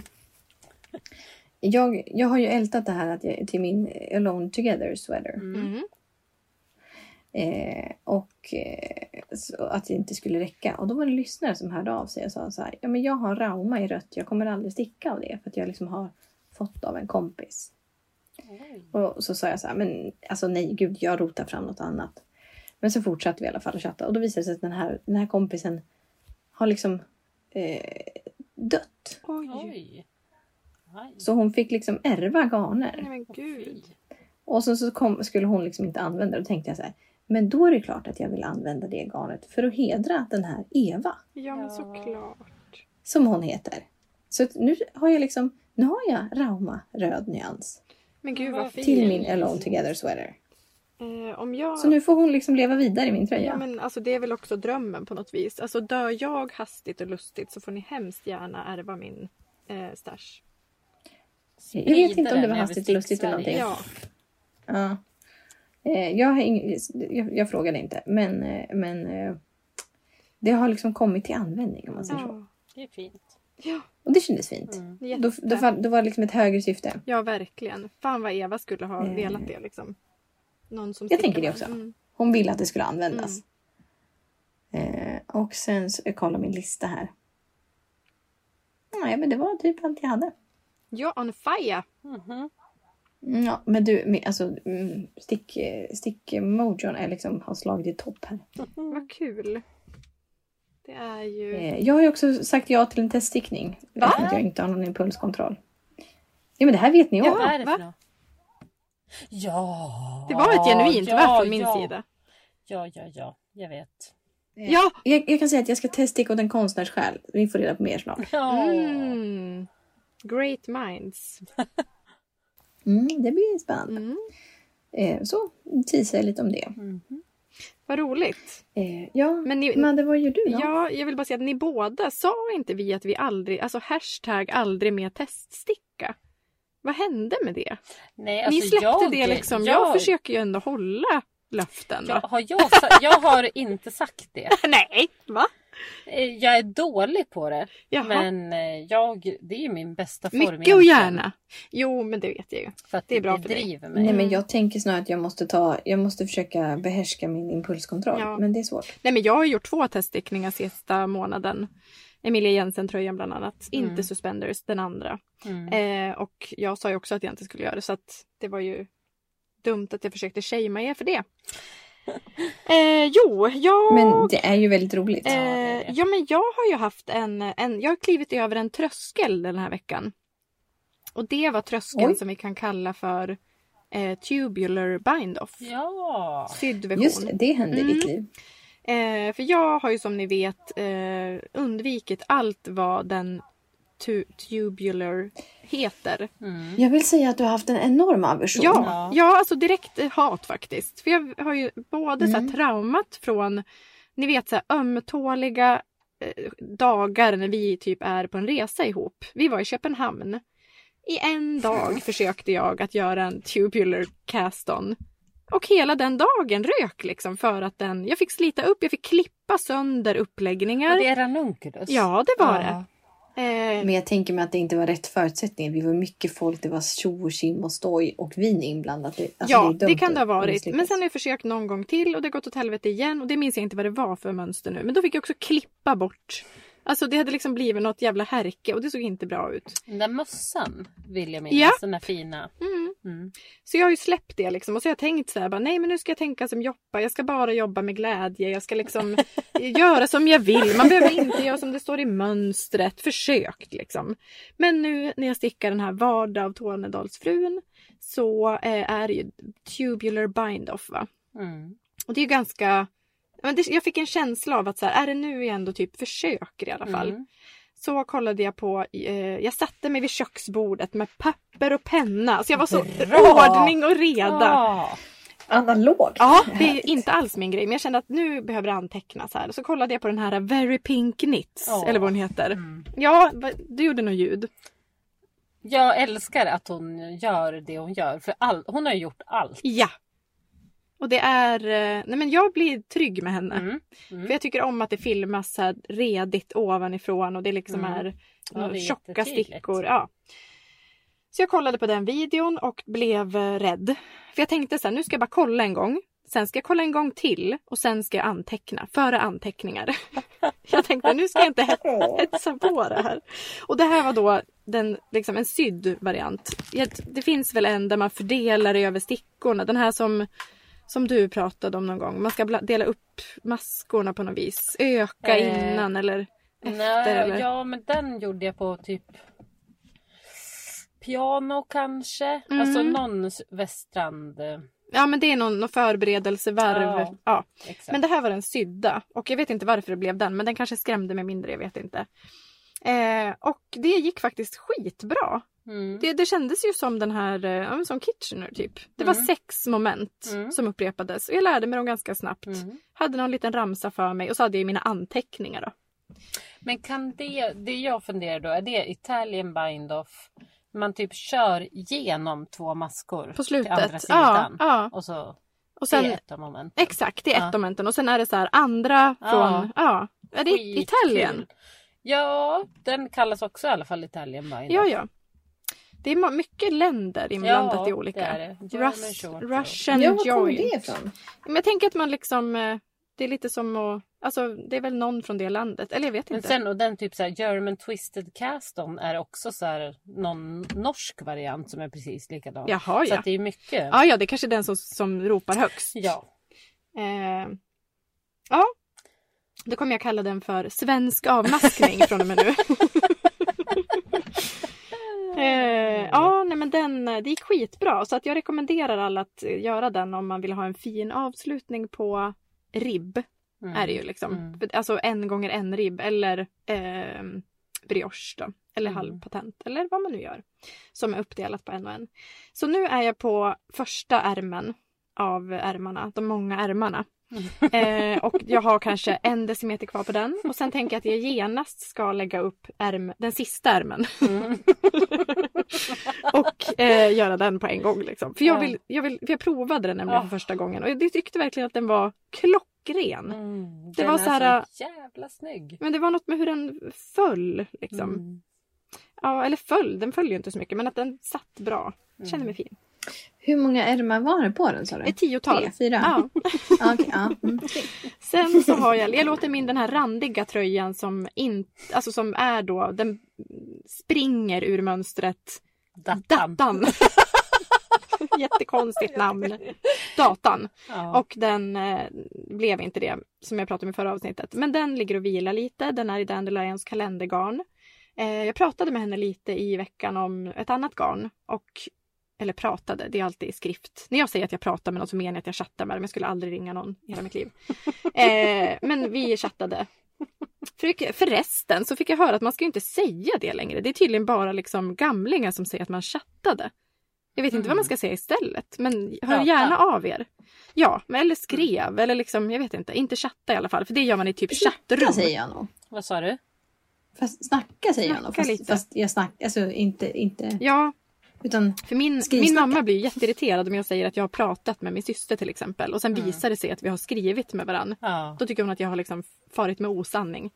Speaker 1: Jag, jag har ju ältat det här att jag, till min Alone Together sweater.
Speaker 2: Mm.
Speaker 3: Mm.
Speaker 1: Eh, och eh, så att det inte skulle räcka. Och då var det lyssnare som hörde av sig och sa så här. Ja men jag har Rauma i rött. Jag kommer aldrig sticka av det. För att jag liksom har fått av en kompis.
Speaker 2: Oj.
Speaker 1: Och så sa jag så här. Men alltså nej gud jag rotar fram något annat. Men så fortsatte vi i alla fall att chatta. Och då visade det sig att den här, den här kompisen har liksom eh, dött.
Speaker 3: Oj.
Speaker 2: Oj. Aj.
Speaker 1: Så hon fick liksom ärva garner.
Speaker 3: Nej men
Speaker 2: Åh,
Speaker 3: gud.
Speaker 2: fy.
Speaker 1: Och sen så kom, skulle hon liksom inte använda det. Då tänkte jag så här. Men då är det klart att jag vill använda det garnet för att hedra den här Eva.
Speaker 3: Ja men
Speaker 2: Ja.
Speaker 3: såklart.
Speaker 1: Som hon heter. Så att nu har jag liksom, nu har jag Rauma röd nyans.
Speaker 3: Men gud
Speaker 2: Vad
Speaker 3: vad fint.
Speaker 1: Till min Alone Together sweater.
Speaker 3: Eh, om jag...
Speaker 1: Så nu får hon liksom leva vidare i min
Speaker 3: Ja,
Speaker 1: tröja.
Speaker 3: men alltså det är väl också drömmen på något vis. Alltså dör jag hastigt och lustigt så får ni hemskt gärna ärva min eh, stash.
Speaker 1: Jag vet inte om det
Speaker 2: Sprida
Speaker 1: var
Speaker 2: den
Speaker 1: hastigt
Speaker 2: över
Speaker 1: lustigt eller
Speaker 2: Stick-Sverige.
Speaker 1: någonting.
Speaker 3: Ja,
Speaker 1: Ja. Eh, Jag, har ing- jag, jag frågade inte men, eh, men eh, det har liksom kommit till användning om man säger så.
Speaker 3: ja.
Speaker 2: Det är fint.
Speaker 1: Och det kändes fint.
Speaker 2: Mm.
Speaker 1: Då, då,
Speaker 3: Jätte.
Speaker 1: var, då var det liksom ett högre syfte.
Speaker 3: Ja, verkligen. Fan vad Eva skulle ha
Speaker 1: Mm.
Speaker 3: velat det liksom. Någon som
Speaker 1: Jag
Speaker 3: sticker
Speaker 1: tänker det
Speaker 3: med.
Speaker 1: också.
Speaker 3: Mm.
Speaker 1: Hon ville att det skulle användas. Eh, och sen så, jag kollar min lista här. Nej, men det var typ allt jag hade.
Speaker 3: You're on fire!
Speaker 2: Mhm.
Speaker 1: Mm, Ja, men du, men, alltså mm, stick, eh, stickmojon är liksom, har slagit i topp här.
Speaker 3: Vad kul. Det är ju...
Speaker 1: Eh, jag har ju också sagt ja till en teststickning.
Speaker 3: Mm. Va?
Speaker 1: Eftersom att jag inte har någon impulskontroll. Ja, men det här vet ni om.
Speaker 3: Ja,
Speaker 2: Vad är det
Speaker 3: va?
Speaker 2: för något? Ja!
Speaker 3: Det var ett genuint
Speaker 2: ja,
Speaker 3: va från min
Speaker 2: ja.
Speaker 3: sida.
Speaker 2: Ja, ja, ja. Jag vet.
Speaker 1: Eh,
Speaker 3: Ja!
Speaker 1: Jag, jag kan säga att jag ska teststicka åt en konstnärs själ. Vi får reda på mer snart.
Speaker 2: Ja.
Speaker 3: Mm. Great minds.
Speaker 1: Mm, det blir spännande.
Speaker 3: Mm.
Speaker 1: Eh, så, teasar jag lite om det.
Speaker 2: Mhm.
Speaker 3: Vad roligt.
Speaker 1: Eh, ja, men,
Speaker 3: Men ni,
Speaker 1: det var ju du då.
Speaker 3: ja, jag vill bara säga att ni båda sa inte vi att vi aldrig, alltså hashtag aldrig mer teststicka. Vad hände med det?
Speaker 2: Nej,
Speaker 3: ni
Speaker 2: alltså,
Speaker 3: släppte
Speaker 2: jag,
Speaker 3: det liksom. Jag,
Speaker 2: jag
Speaker 3: försöker ju ändå hålla löften.
Speaker 2: Jag,
Speaker 3: va?
Speaker 2: har jag, sa- jag har inte sagt det.
Speaker 3: Nej, va?
Speaker 2: Eh, Jag är dålig på det.
Speaker 3: Jaha.
Speaker 2: Men eh, jag, det är ju min bästa form.
Speaker 3: Mycket och
Speaker 2: egentligen.
Speaker 3: gärna. Jo, men det vet jag ju.
Speaker 2: För att
Speaker 3: Det
Speaker 2: det,
Speaker 3: är bra
Speaker 2: det
Speaker 3: för dig.
Speaker 2: driver mig.
Speaker 1: Nej,
Speaker 3: eh.
Speaker 1: men jag tänker snarare att jag måste, ta, jag måste försöka behärska min impulskontroll.
Speaker 3: Ja.
Speaker 1: Men det är svårt.
Speaker 3: Nej, men jag har gjort två teststickningar sista månaden. Emilia Jensen-tröjan bland annat.
Speaker 2: Mm.
Speaker 3: Inte Suspenders, den andra.
Speaker 2: Mm.
Speaker 3: Eh, och jag sa ju också att jag inte skulle göra det så att det var ju dumt att jag försökte shamea er
Speaker 2: *laughs*
Speaker 3: för det. Eh, jo, jag...
Speaker 1: Men det är ju väldigt roligt.
Speaker 2: Ja, det är det.
Speaker 3: Eh, ja, men jag har ju haft en, en... Jag har klivit över en tröskel den här veckan. Och det var tröskeln
Speaker 1: Oj.
Speaker 3: som vi kan kalla för eh, tubular bind-off.
Speaker 2: Ja.
Speaker 3: Sydd
Speaker 1: Just
Speaker 3: version.
Speaker 1: det, det hände i ditt
Speaker 3: Mm.
Speaker 1: liv.
Speaker 3: Eh, för jag har ju som ni vet eh, undvikit allt vad den tu- tubular heter.
Speaker 2: Mm.
Speaker 1: Jag vill säga att du har haft en enorm aversion.
Speaker 3: Ja,
Speaker 2: Ja.
Speaker 3: ja, alltså direkt eh, hat faktiskt. För jag har ju både så här
Speaker 1: Mm.
Speaker 3: traumat från, ni vet så här ömtåliga eh, dagar när vi typ är på en resa ihop. Vi var i Köpenhamn. I en
Speaker 2: *laughs*
Speaker 3: dag försökte jag att göra en tubular cast-on. Och hela den dagen rök liksom för att den, jag fick slita upp, jag fick klippa sönder uppläggningar.
Speaker 2: Och det är ranunculus.
Speaker 3: Ja, det var
Speaker 2: Ja.
Speaker 3: det. Eh,
Speaker 1: Men jag tänker mig att det inte var rätt förutsättningar. Vi var mycket folk, det var tjo och tjim och stoj och vin inblandat. Det- Alltså,
Speaker 3: ja,
Speaker 1: är
Speaker 3: det,
Speaker 1: dumt
Speaker 3: kan det ha
Speaker 1: att
Speaker 3: varit.
Speaker 1: misslyckas.
Speaker 3: Men sen har jag försökt någon gång till och det har gått åt helvete igen. Och det minns jag inte vad det var för mönster nu. Men då fick jag också klippa bort. Alltså det hade liksom blivit något jävla härke och det såg inte bra ut.
Speaker 2: Den där mössan vill jag minnas.
Speaker 3: Ja.
Speaker 2: Den där fina.
Speaker 3: Mm.
Speaker 2: Mm.
Speaker 3: Så jag har ju släppt det liksom. Och så har jag tänkt så här, bara, nej men nu ska jag tänka som Joppa. Jag ska bara jobba med glädje. Jag
Speaker 1: *laughs*
Speaker 3: ska liksom göra som jag vill. Man behöver inte göra som det står i mönstret. Försökt liksom. Men nu när jag stickar den här Vardag av Tornedalsfrun så eh, är det ju tubular bind-off va.
Speaker 2: Mm.
Speaker 3: Och det är ju ganska... Men det, jag fick en känsla av att så här, är det nu jag ändå typ försöker i alla fall.
Speaker 2: Mm.
Speaker 3: Så kollade jag på, eh, jag satte mig vid köksbordet med papper och penna. Så jag var så
Speaker 2: Bra!
Speaker 3: ordning och reda.
Speaker 2: Ja.
Speaker 1: Analogt.
Speaker 3: Ja, det är
Speaker 1: Härligt.
Speaker 3: inte alls min grej men jag kände att nu behöver det antecknas här. Så kollade jag på den här Very Pink Knits
Speaker 2: Ja.
Speaker 3: eller vad hon heter.
Speaker 2: Mm.
Speaker 3: Ja, va- du gjorde något ljud.
Speaker 2: Jag älskar att hon gör det hon gör. För all, hon har ju gjort allt.
Speaker 3: Ja. Och det är, eh, nej men jag blir trygg med henne.
Speaker 2: Mm.
Speaker 3: För jag tycker om att det filmas så här redigt ovanifrån och det liksom
Speaker 2: Mm.
Speaker 3: är,
Speaker 2: Ja, det är
Speaker 3: tjocka
Speaker 2: jättetydligt.
Speaker 3: stickor. Ja. Så jag kollade på den videon och blev eh, rädd. För jag tänkte så här, nu ska jag bara kolla en gång. Sen ska jag kolla en gång till och sen ska jag anteckna, föra anteckningar. *laughs* jag tänkte nu ska jag inte
Speaker 1: Åh.
Speaker 3: hetsa på det här. Och det här var då den, liksom en sydd variant. Jag- Det finns väl en där man fördelar över stickorna. Den här som, som du pratade om någon gång. Man ska bla- dela upp maskorna på något vis. Öka
Speaker 2: Eh,
Speaker 3: innan eller efter. eller?
Speaker 2: Nej, ja men den gjorde jag på typ piano kanske.
Speaker 3: Mm.
Speaker 2: Alltså någon s- väststrand. eh,
Speaker 3: Ja men det är någon, någon förberedelsevarv. Ja.
Speaker 2: Ja. Exakt.
Speaker 3: Men det här var den sydda och jag vet inte varför det blev den men den kanske skrämde mig mindre, jag vet inte. Eh, och det gick faktiskt skitbra.
Speaker 2: mm.
Speaker 3: Det, det kändes ju som den här, eh, ja, men som Kitchener typ. Det var
Speaker 2: Mm.
Speaker 3: sex moment
Speaker 2: Mm.
Speaker 3: som upprepades och jag lärde mig dem ganska snabbt.
Speaker 2: Mm.
Speaker 3: Hade någon liten ramsa för mig och så hade jag mina anteckningar då.
Speaker 2: Men kan det, det jag funderar då, är det Italian bind-off? Man typ kör genom två maskor
Speaker 3: På
Speaker 2: till andra
Speaker 3: slutet. Ja,
Speaker 2: sidan.
Speaker 3: ja.
Speaker 2: Och så
Speaker 3: Och
Speaker 2: det är
Speaker 3: sen,
Speaker 2: ett av moment.
Speaker 3: exakt, det är ett
Speaker 2: Ja.
Speaker 3: momenten och sen är det så här andra
Speaker 2: Ja.
Speaker 3: från, ja. Är det Italien?
Speaker 2: Ja, den kallas också i alla fall Italien Vine.
Speaker 3: Ja, ja. Det är ma- mycket länder inblandat i olika.
Speaker 2: Det är det. German
Speaker 3: Rus-
Speaker 2: short roll.
Speaker 3: Russian
Speaker 1: ja, var kommer
Speaker 3: joint.
Speaker 1: det ifrån?
Speaker 3: Men jag tänker att man liksom, eh, det är lite som att, alltså det är väl någon från det landet, eller jag vet
Speaker 2: Men
Speaker 3: inte.
Speaker 2: sen och den typ så här German Twisted Cast-on är också så här någon norsk variant som är precis likadan.
Speaker 3: Jaha
Speaker 2: Så
Speaker 3: ja.
Speaker 2: att det är mycket.
Speaker 3: Ja, ja, det är kanske är den som, som ropar högst.
Speaker 2: Ja.
Speaker 3: Eh, ja. Då kommer jag kalla den för
Speaker 2: *laughs*
Speaker 3: svensk avmaskning från och med nu. *laughs* eh, ja, nej men den, eh, det gick skitbra. Så att jag rekommenderar alla att eh, göra den om man vill ha en fin avslutning på ribb.
Speaker 2: Mm.
Speaker 3: Är det
Speaker 2: *laughs*
Speaker 3: ju liksom.
Speaker 2: Mm.
Speaker 3: För- Alltså en gånger en ribb eller ehm, brioche då. Eller
Speaker 2: Mm.
Speaker 3: halvpatent eller vad man nu gör. Som är uppdelat på en och en. Så nu är jag på första ärmen av ärmarna, de många ärmarna. Eh, och jag har kanske en decimeter kvar på den. Och sen tänker jag att jag genast ska lägga upp ärm, den sista ärmen.
Speaker 2: Mm.
Speaker 3: *laughs* Och eh, göra den på en gång. Liksom. För, jag
Speaker 2: Ja.
Speaker 3: vill, jag vill, för jag provade den nämligen
Speaker 2: Ah.
Speaker 3: för första gången. Och jag tyckte verkligen att den var klockren.
Speaker 2: Mm.
Speaker 3: Det
Speaker 2: Den
Speaker 3: var
Speaker 2: är
Speaker 3: så här, eh,
Speaker 2: så jävla snygg.
Speaker 3: Men det var något med hur den föll. Liksom.
Speaker 2: Mm.
Speaker 3: Ja, eller föll, den föll ju inte så mycket men att den satt bra.
Speaker 2: Mm.
Speaker 3: Kände mig fin.
Speaker 1: Hur många ärmar var det på den sa du?
Speaker 3: Ett tiotal.
Speaker 1: Tre, fyra?
Speaker 3: Ja.
Speaker 1: *laughs* Ja, okej, ja. Mm.
Speaker 3: *laughs* Sen så har jag, jag låter min den här randiga tröjan som, in, alltså som är då, den springer ur mönstret.
Speaker 2: Dattan. *laughs*
Speaker 3: Datan. Jättekonstigt namn. Datan.
Speaker 2: Ja.
Speaker 3: Och den eh, blev inte det som jag pratade om i förra avsnittet. Men den ligger och vilar lite. Den är i Dandelions kalendergarn. Eh, jag pratade med henne lite i veckan om ett annat garn. Och, eller pratade, det är alltid i skrift. När jag säger att jag pratar med någon så menar jag att jag chattar med dem. Jag skulle aldrig ringa någon i hela mitt liv. Eh, men vi chattade. För- Förresten så fick jag höra att man ska ju inte säga det längre. Det är tydligen bara liksom gamlingar som säger att man chattade. Jag vet inte vad
Speaker 2: Mm.
Speaker 3: man ska säga istället men hör
Speaker 2: Prata.
Speaker 3: gärna av er. Ja, men eller skrev eller liksom, jag vet inte. Inte chatta i alla fall för det gör man i typ
Speaker 1: Snacka
Speaker 3: chattrum.
Speaker 1: säger jag nog.
Speaker 2: Vad sa du?
Speaker 1: Fast snacka säger jag nog.
Speaker 3: Snacka lite.
Speaker 1: Fast, fast jag snackar, alltså inte, inte.
Speaker 3: Ja,
Speaker 1: Utan
Speaker 3: för min, min
Speaker 1: Skrivsnacka.
Speaker 3: mamma blir ju jätteirriterad om jag säger att jag har pratat med min syster till exempel och sen
Speaker 1: Mm.
Speaker 3: visar det sig att vi har skrivit med varandra.
Speaker 2: Ja.
Speaker 3: Då tycker hon att jag har liksom farit med osanning.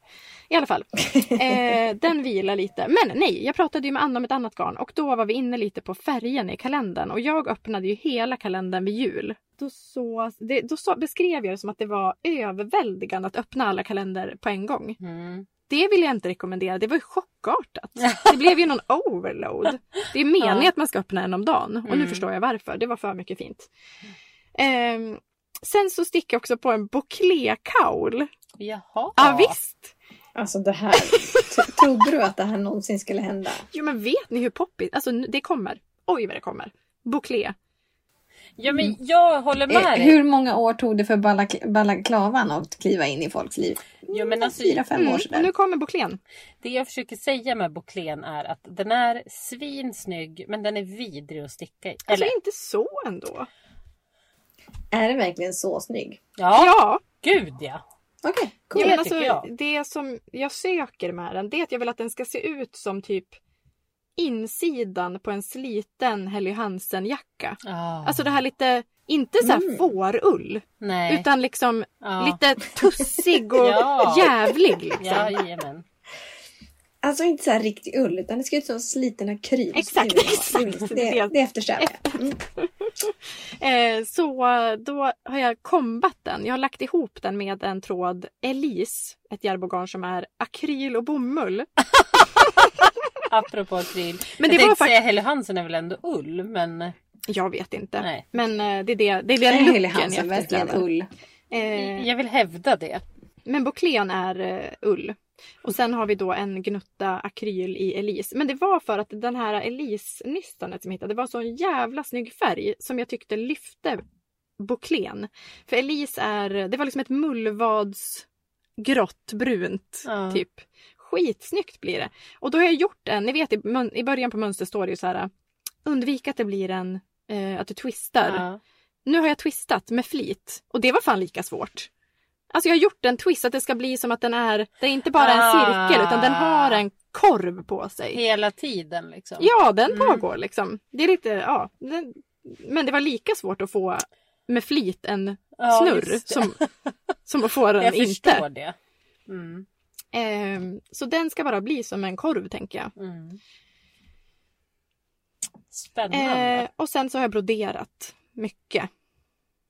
Speaker 3: I alla fall. Eh, den vilar lite. Men nej, jag pratade ju med Anna om ett annat garn och då var vi inne lite på färgen i kalendern och jag öppnade ju hela kalendern vid jul. Då, så, det, då så, beskrev jag det som att det var överväldigande att öppna alla kalendrar på en gång.
Speaker 2: Mm.
Speaker 3: Det vill jag inte rekommendera. Det var ju chockartat. Det blev ju någon overload. Det är meningen
Speaker 2: Ja.
Speaker 3: att man ska öppna en om dagen och nu
Speaker 2: Mm.
Speaker 3: förstår jag varför. Det var för mycket fint. Ehm, sen så sticker jag också på en bouclé-kaul.
Speaker 2: Jaha.
Speaker 3: Ja, visst!
Speaker 1: alltså det här. t- Trodde du att det här någonsin skulle hända?
Speaker 3: Jo men vet ni hur poppigt, alltså nu- det kommer. Oj vad det kommer. Bouclé.
Speaker 2: Ja, men jag håller med
Speaker 1: Eh,
Speaker 2: dig.
Speaker 1: hur många år tog det för balak- balaklavan att kliva in i folks liv?
Speaker 2: Ja, men alltså,
Speaker 1: Fyra, fem
Speaker 3: Mm,
Speaker 1: år
Speaker 3: och
Speaker 1: sedan.
Speaker 3: nu kommer bouclén.
Speaker 2: Det jag försöker säga med Bouclén är att den är svinsnygg men den är vidrig att sticka i.
Speaker 3: Alltså
Speaker 2: Eller?
Speaker 3: inte så ändå.
Speaker 1: Är det verkligen så snygg?
Speaker 2: Ja,
Speaker 3: ja.
Speaker 2: gud ja.
Speaker 1: Okej, cool.
Speaker 3: Ja,
Speaker 2: Det
Speaker 3: men
Speaker 2: tycker
Speaker 3: alltså,
Speaker 2: jag.
Speaker 3: Det som jag söker med den det är att jag vill att den ska se ut som typ insidan på en sliten Helly Hansen-jacka.
Speaker 2: Ah,
Speaker 3: Alltså det här lite, inte så här
Speaker 1: Mm.
Speaker 3: fårull,
Speaker 2: nej.
Speaker 3: utan liksom
Speaker 2: ja.
Speaker 3: lite tussig och
Speaker 2: *laughs* Ja.
Speaker 3: jävlig. Liksom.
Speaker 2: Jajamän.
Speaker 1: Alltså inte så här riktig ull utan det ska ut som sliten akryl.
Speaker 3: Exakt,
Speaker 1: Det vill jag ha.
Speaker 3: exakt.
Speaker 1: Det, det eftersträvar jag. Mm.
Speaker 3: Eh, så eh, då har jag kombat den. Jag har lagt ihop den med en tråd Elise, ett järbogarn som är akryl och bomull.
Speaker 2: Apropå akryl.
Speaker 3: *laughs*
Speaker 2: jag
Speaker 3: Men det var
Speaker 2: tänkte
Speaker 3: faktiskt,
Speaker 2: säga Helle Hansen är väl ändå ull men
Speaker 3: jag vet inte.
Speaker 2: nej.
Speaker 3: Men eh, det är det, det är
Speaker 1: Det
Speaker 3: den
Speaker 1: är Helly
Speaker 3: looken
Speaker 1: Hansen,
Speaker 3: jag
Speaker 1: verkligen
Speaker 3: eftersträvar.
Speaker 1: ull.
Speaker 3: Eh,
Speaker 2: Jag vill hävda det.
Speaker 3: men Bouclén är eh, ull. Och sen har vi då en gnutta akryl i Elise. Men det var för att den här Elise-nystanet som jag hittade, det var så en jävla snygg färg som jag tyckte lyfte Bouclén. För Elise är, det var liksom ett mullvads grått brunt
Speaker 2: Ja.
Speaker 3: typ. Skitsnyggt blir det. Och då har jag gjort en, ni vet i, mön- i början på mönster står det ju så här undvik att det blir en, eh, att du twistar.
Speaker 2: Ja.
Speaker 3: Nu har jag twistat med flit och det var fan lika svårt. Alltså jag har gjort en twist att det ska bli som att den är, det är inte bara en
Speaker 2: Ah.
Speaker 3: cirkel utan den har en korv på sig.
Speaker 2: Hela tiden liksom.
Speaker 3: Ja, den
Speaker 2: Mm.
Speaker 3: pågår liksom. Det är lite, ja. Den, men det var lika svårt att få med flit en
Speaker 2: Ja,
Speaker 3: snurr
Speaker 2: just det. *laughs*
Speaker 3: som, som att få den
Speaker 2: Jag
Speaker 3: inte.
Speaker 2: förstår det. Mm.
Speaker 3: Ehm, så den ska bara bli som en korv tänker jag.
Speaker 2: Mm. Spännande.
Speaker 3: Eh, och sen så har jag broderat mycket.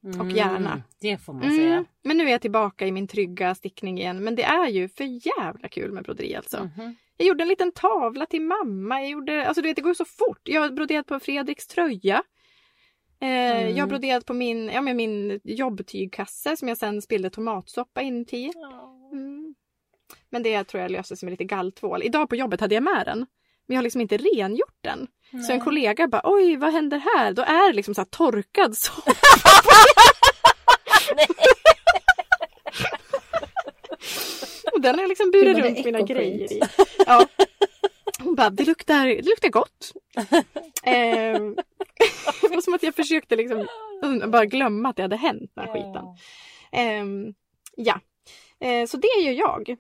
Speaker 3: och
Speaker 2: Mm,
Speaker 3: gärna.
Speaker 2: Det får man
Speaker 3: Mm,
Speaker 2: säga.
Speaker 3: men nu är jag tillbaka i min trygga stickning igen. Men det är ju för jävla kul med broderi alltså.
Speaker 2: Mhm.
Speaker 3: Jag gjorde en liten tavla till mamma. Jag gjorde, alltså du vet det går ju så fort. Jag har broderat på Fredriks tröja. Eh,
Speaker 2: Mm.
Speaker 3: Jag har broderat på min, ja, men min jobbtygkasse som jag sen spillde tomatsoppa inuti. Mm. Men det tror jag löser sig med lite galltvål. Idag på jobbet hade jag med den. Men jag har liksom inte rengjort den. Så en kollega bara oj vad händer här? Då är det liksom så här torkad *laughs* soppa. Och den har jag liksom burit
Speaker 1: Gud, vad det
Speaker 3: runt mina
Speaker 1: ekofint.
Speaker 3: grejer i. Ja. Hon bara det luktar, det luktar gott. Ehm, *laughs* det var som att jag försökte liksom un- bara glömma att det hade hänt den här skiten.
Speaker 2: Ja.
Speaker 3: Ehm, ja, Eh, så det är ju jag.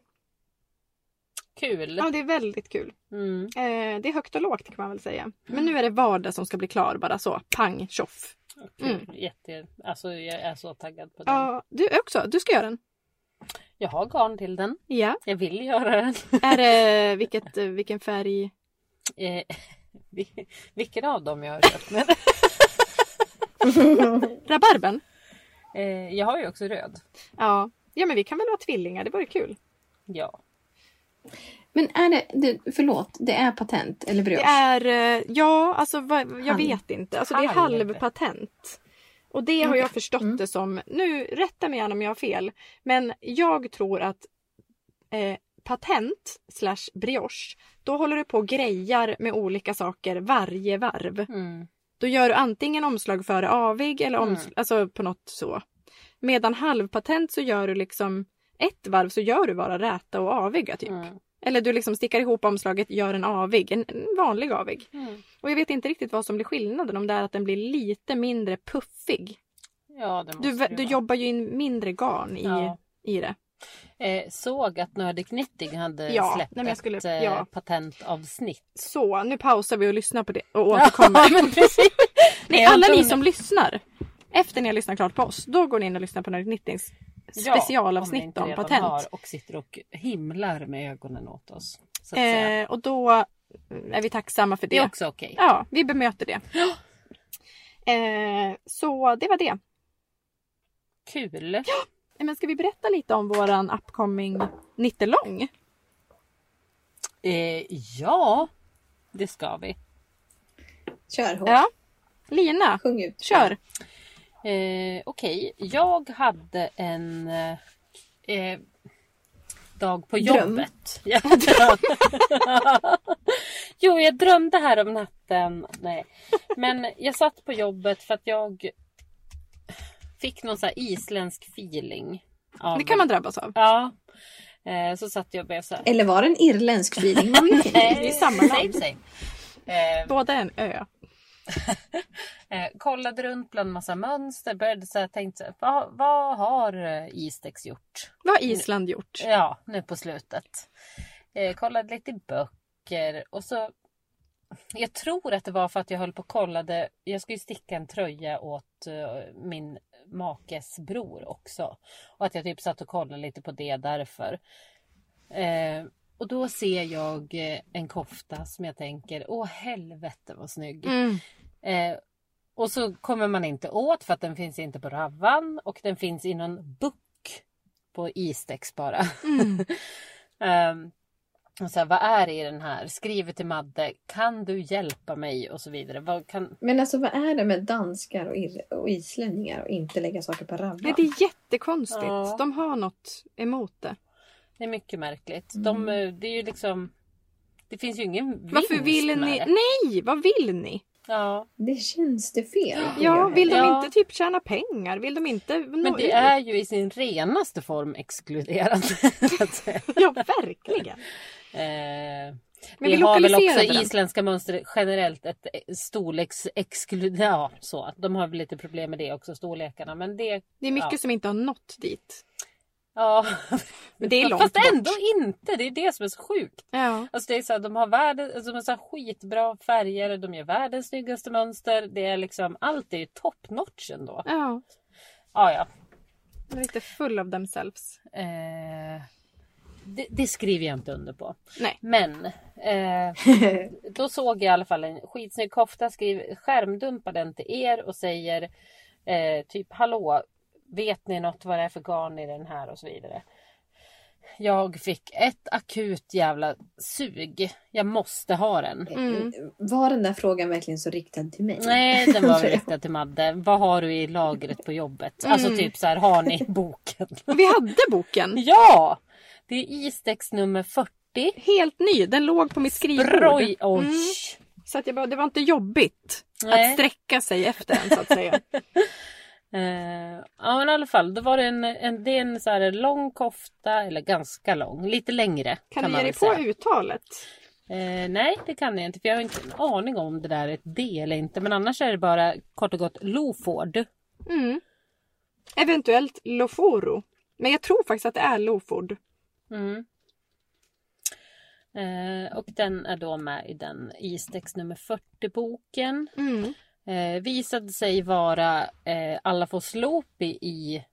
Speaker 2: Kul.
Speaker 3: Ja, det är väldigt kul.
Speaker 2: Mm.
Speaker 3: Eh, det är högt och lågt kan man väl säga. Men nu är det vardag som ska bli klar bara så. Pang tjoff.
Speaker 2: Kul. Jätte... Alltså, jag är så taggad på den.
Speaker 3: Mm. Ja, du också. Du ska göra den.
Speaker 2: Jag har garn till den.
Speaker 3: Ja.
Speaker 2: Jag vill göra den. *laughs*
Speaker 3: Är det vilket, eh, vilken färg?
Speaker 2: Eh, vil- vilken av dem jag har köpt? Men,
Speaker 3: *laughs* Rabarbern?
Speaker 2: eh, jag har ju också röd.
Speaker 3: Ja. Ja men vi kan väl vara tvillingar, det vore kul.
Speaker 2: Ja.
Speaker 1: Men är det, det, förlåt, det är patent eller bröst?
Speaker 3: Det är, eh, ja alltså vad, jag
Speaker 1: Halv.
Speaker 3: vet inte. Alltså det är
Speaker 2: Halv.
Speaker 3: halvpatent. Och det har jag förstått
Speaker 1: Mm.
Speaker 3: det som, nu rätta mig gärna om jag har fel, men jag tror att eh, patent slash brioche, då håller du på och grejar med olika saker varje varv.
Speaker 2: Mm.
Speaker 3: Då gör du antingen omslag före avig eller
Speaker 2: Mm.
Speaker 3: omslag, alltså på något så. Medan halvpatent så gör du liksom ett varv så gör du bara räta och aviga typ.
Speaker 2: Mm.
Speaker 3: Eller du liksom stickar ihop omslaget, gör en avig, en, en vanlig avig.
Speaker 2: Mm.
Speaker 3: Och jag vet inte riktigt vad som blir skillnaden om det är att den blir lite mindre puffig.
Speaker 2: Ja, det måste
Speaker 3: Du,
Speaker 2: det
Speaker 3: du
Speaker 2: vara.
Speaker 3: jobbar ju in mindre garn i,
Speaker 2: Ja.
Speaker 3: i det.
Speaker 2: Eh, såg att Nördig Knitting hade
Speaker 3: Ja,
Speaker 2: släppt
Speaker 3: nej, men jag skulle-
Speaker 2: ett eh,
Speaker 3: ja.
Speaker 2: patentavsnitt.
Speaker 3: Så nu pausar vi och lyssnar på det
Speaker 2: *laughs*
Speaker 3: och återkommer.
Speaker 2: men precis.
Speaker 3: Nej,
Speaker 2: jag har
Speaker 3: alla
Speaker 2: inte
Speaker 3: ni
Speaker 2: hunnit-
Speaker 3: som lyssnar. Efter ni har lyssnat klart på oss, då går ni in och lyssnar på Nördigt Knittings
Speaker 2: Ja, ni
Speaker 3: specialavsnitt
Speaker 2: inte
Speaker 3: om,
Speaker 2: redan
Speaker 3: patent.
Speaker 2: har och sitter och himlar med ögonen åt oss. Så att säga.
Speaker 3: Eh, och då är vi tacksamma för det.
Speaker 2: Det är också okej.
Speaker 3: Ja, vi bemöter det. Eh, så det var det.
Speaker 2: *gasps* Kul!
Speaker 3: Eh, Men ska vi berätta lite om våran upcoming nittelång?
Speaker 2: Eh, ja, det ska vi.
Speaker 1: Kör hårt.
Speaker 3: Ja. Lina,
Speaker 1: Sjung ut.
Speaker 3: kör!
Speaker 2: Eh, Okej, jag hade en eh, eh, dag på
Speaker 1: Dröm.
Speaker 2: jobbet. *laughs* Ja, dröm. jo, jag drömde här om natten. Nej. Men jag satt på jobbet för att jag fick någon så här isländsk feeling. Av,
Speaker 3: Det kan man drabbas av.
Speaker 2: Ja. Eh, så satt jag och blev så här.
Speaker 1: Eller var det en irländsk feeling?
Speaker 3: *laughs*
Speaker 1: Man vet inte.
Speaker 2: Nej,
Speaker 3: det är samma
Speaker 2: Same,
Speaker 3: land.
Speaker 2: same. Eh,
Speaker 3: Båda är en ö.
Speaker 2: Eh, kollade runt bland massa mönster, började så här, tänkte så här, vad, vad har eh, Istex gjort?
Speaker 3: Vad har Island gjort?
Speaker 2: Ja, nu på slutet. Eh, kollade lite i böcker och så... Jag tror att det var för att jag höll på och kollade. Jag skulle ju sticka en tröja åt eh, min makes bror också. Och att jag typ satt och kollade lite på det därför. Eh, och då ser jag eh, en kofta som jag tänker, åh helvete vad snygg.
Speaker 3: Mm.
Speaker 2: Eh, och så kommer man inte åt för att den finns inte på Ravan och den finns i någon buck på Istex bara. *laughs*
Speaker 3: Mm.
Speaker 2: Ehm, och så här, vad är det i den här? Skriver till Madde, kan du hjälpa mig? Och så vidare. Vad kan...
Speaker 1: Men alltså vad är det med danskar och, ir- och islänningar och inte lägga saker på rabban?
Speaker 3: Nej, det är jättekonstigt.
Speaker 2: Ja.
Speaker 3: De har något emot det.
Speaker 2: Det är mycket märkligt. De,
Speaker 1: Mm.
Speaker 2: eh, det är ju liksom... Det finns ju ingen vinst
Speaker 3: Varför vill
Speaker 2: med
Speaker 3: ni?
Speaker 2: det.
Speaker 3: Nej, vad vill ni?
Speaker 2: Ja,
Speaker 1: Det känns det fel.
Speaker 3: Ja, vill de
Speaker 2: Ja.
Speaker 3: inte typ tjäna pengar? Vill de inte
Speaker 2: men
Speaker 3: nå
Speaker 2: det
Speaker 3: ut?
Speaker 2: är ju i sin renaste form exkluderande. *laughs* så att eh, säga.
Speaker 3: Ja, verkligen.
Speaker 2: Eh,
Speaker 3: Men
Speaker 2: vi,
Speaker 3: vi
Speaker 2: har väl också
Speaker 3: lokaliserade den.
Speaker 2: isländska mönster generellt ett eh, storleksexklud... Ja, så. att De har väl lite problem med det också, storlekarna. Men det...
Speaker 3: Det är mycket
Speaker 2: Ja.
Speaker 3: som inte har nått dit.
Speaker 2: Ja.
Speaker 3: Men det är
Speaker 2: *laughs*
Speaker 3: långt
Speaker 2: Fast
Speaker 3: bort.
Speaker 2: ändå inte. Det är det som är så sjukt.
Speaker 3: Ja.
Speaker 2: Alltså det är så här, de har världens, alltså de har så här skitbra färger, de gör världens snyggaste mönster. Det är liksom, allt är ju top notch ändå. Ah,
Speaker 3: Ja,
Speaker 2: Ja, ja.
Speaker 3: de är lite full of themselves.
Speaker 2: Eh, det, det skriver jag inte under på. *laughs*
Speaker 3: Nej.
Speaker 2: Men eh,
Speaker 1: *laughs*
Speaker 2: då såg jag i alla fall en skitsnygg kofta. Skriv, skärmdumpar den till er och säger eh, typ hallå, vet ni något vad det är för garn i den här och så vidare. Jag fick ett akut jävla sug. Jag måste ha den.
Speaker 3: Mm.
Speaker 1: Eh, Var den där frågan verkligen så riktad till mig?
Speaker 2: Nej, den
Speaker 3: *laughs*
Speaker 2: var väl riktad till Madde. Vad har du i lagret på jobbet? Alltså
Speaker 3: Mm.
Speaker 2: typ så här, har ni boken?
Speaker 3: Och vi hade boken.
Speaker 2: *laughs* ja! Det är Istex nummer 40.
Speaker 3: Helt ny. Den låg på mitt skrivbord.
Speaker 2: Broj! Oj!
Speaker 3: Mm. Så att jag bara, det var inte jobbigt att
Speaker 2: Nej.
Speaker 3: sträcka sig efter den så att säga.
Speaker 2: *laughs* Eh, ja men i alla fall, då var det en, en, det är en så här lång kofta, eller ganska lång, lite längre.
Speaker 3: Kan, du
Speaker 2: man
Speaker 3: ge dig
Speaker 2: väl
Speaker 3: på
Speaker 2: säga.
Speaker 3: uttalet?
Speaker 2: Eh, nej det kan jag inte för jag har inte en aning om det där är ett D eller inte. Men annars är det bara kort och gott Loford.
Speaker 3: Mm. Eventuellt Loforo. Men jag tror faktiskt att det är Loford.
Speaker 2: Mm. Eh, och den är då med i den Istex nummer 40 boken.
Speaker 3: Mm.
Speaker 2: Eh, visade sig vara eh, Alafos Lopi i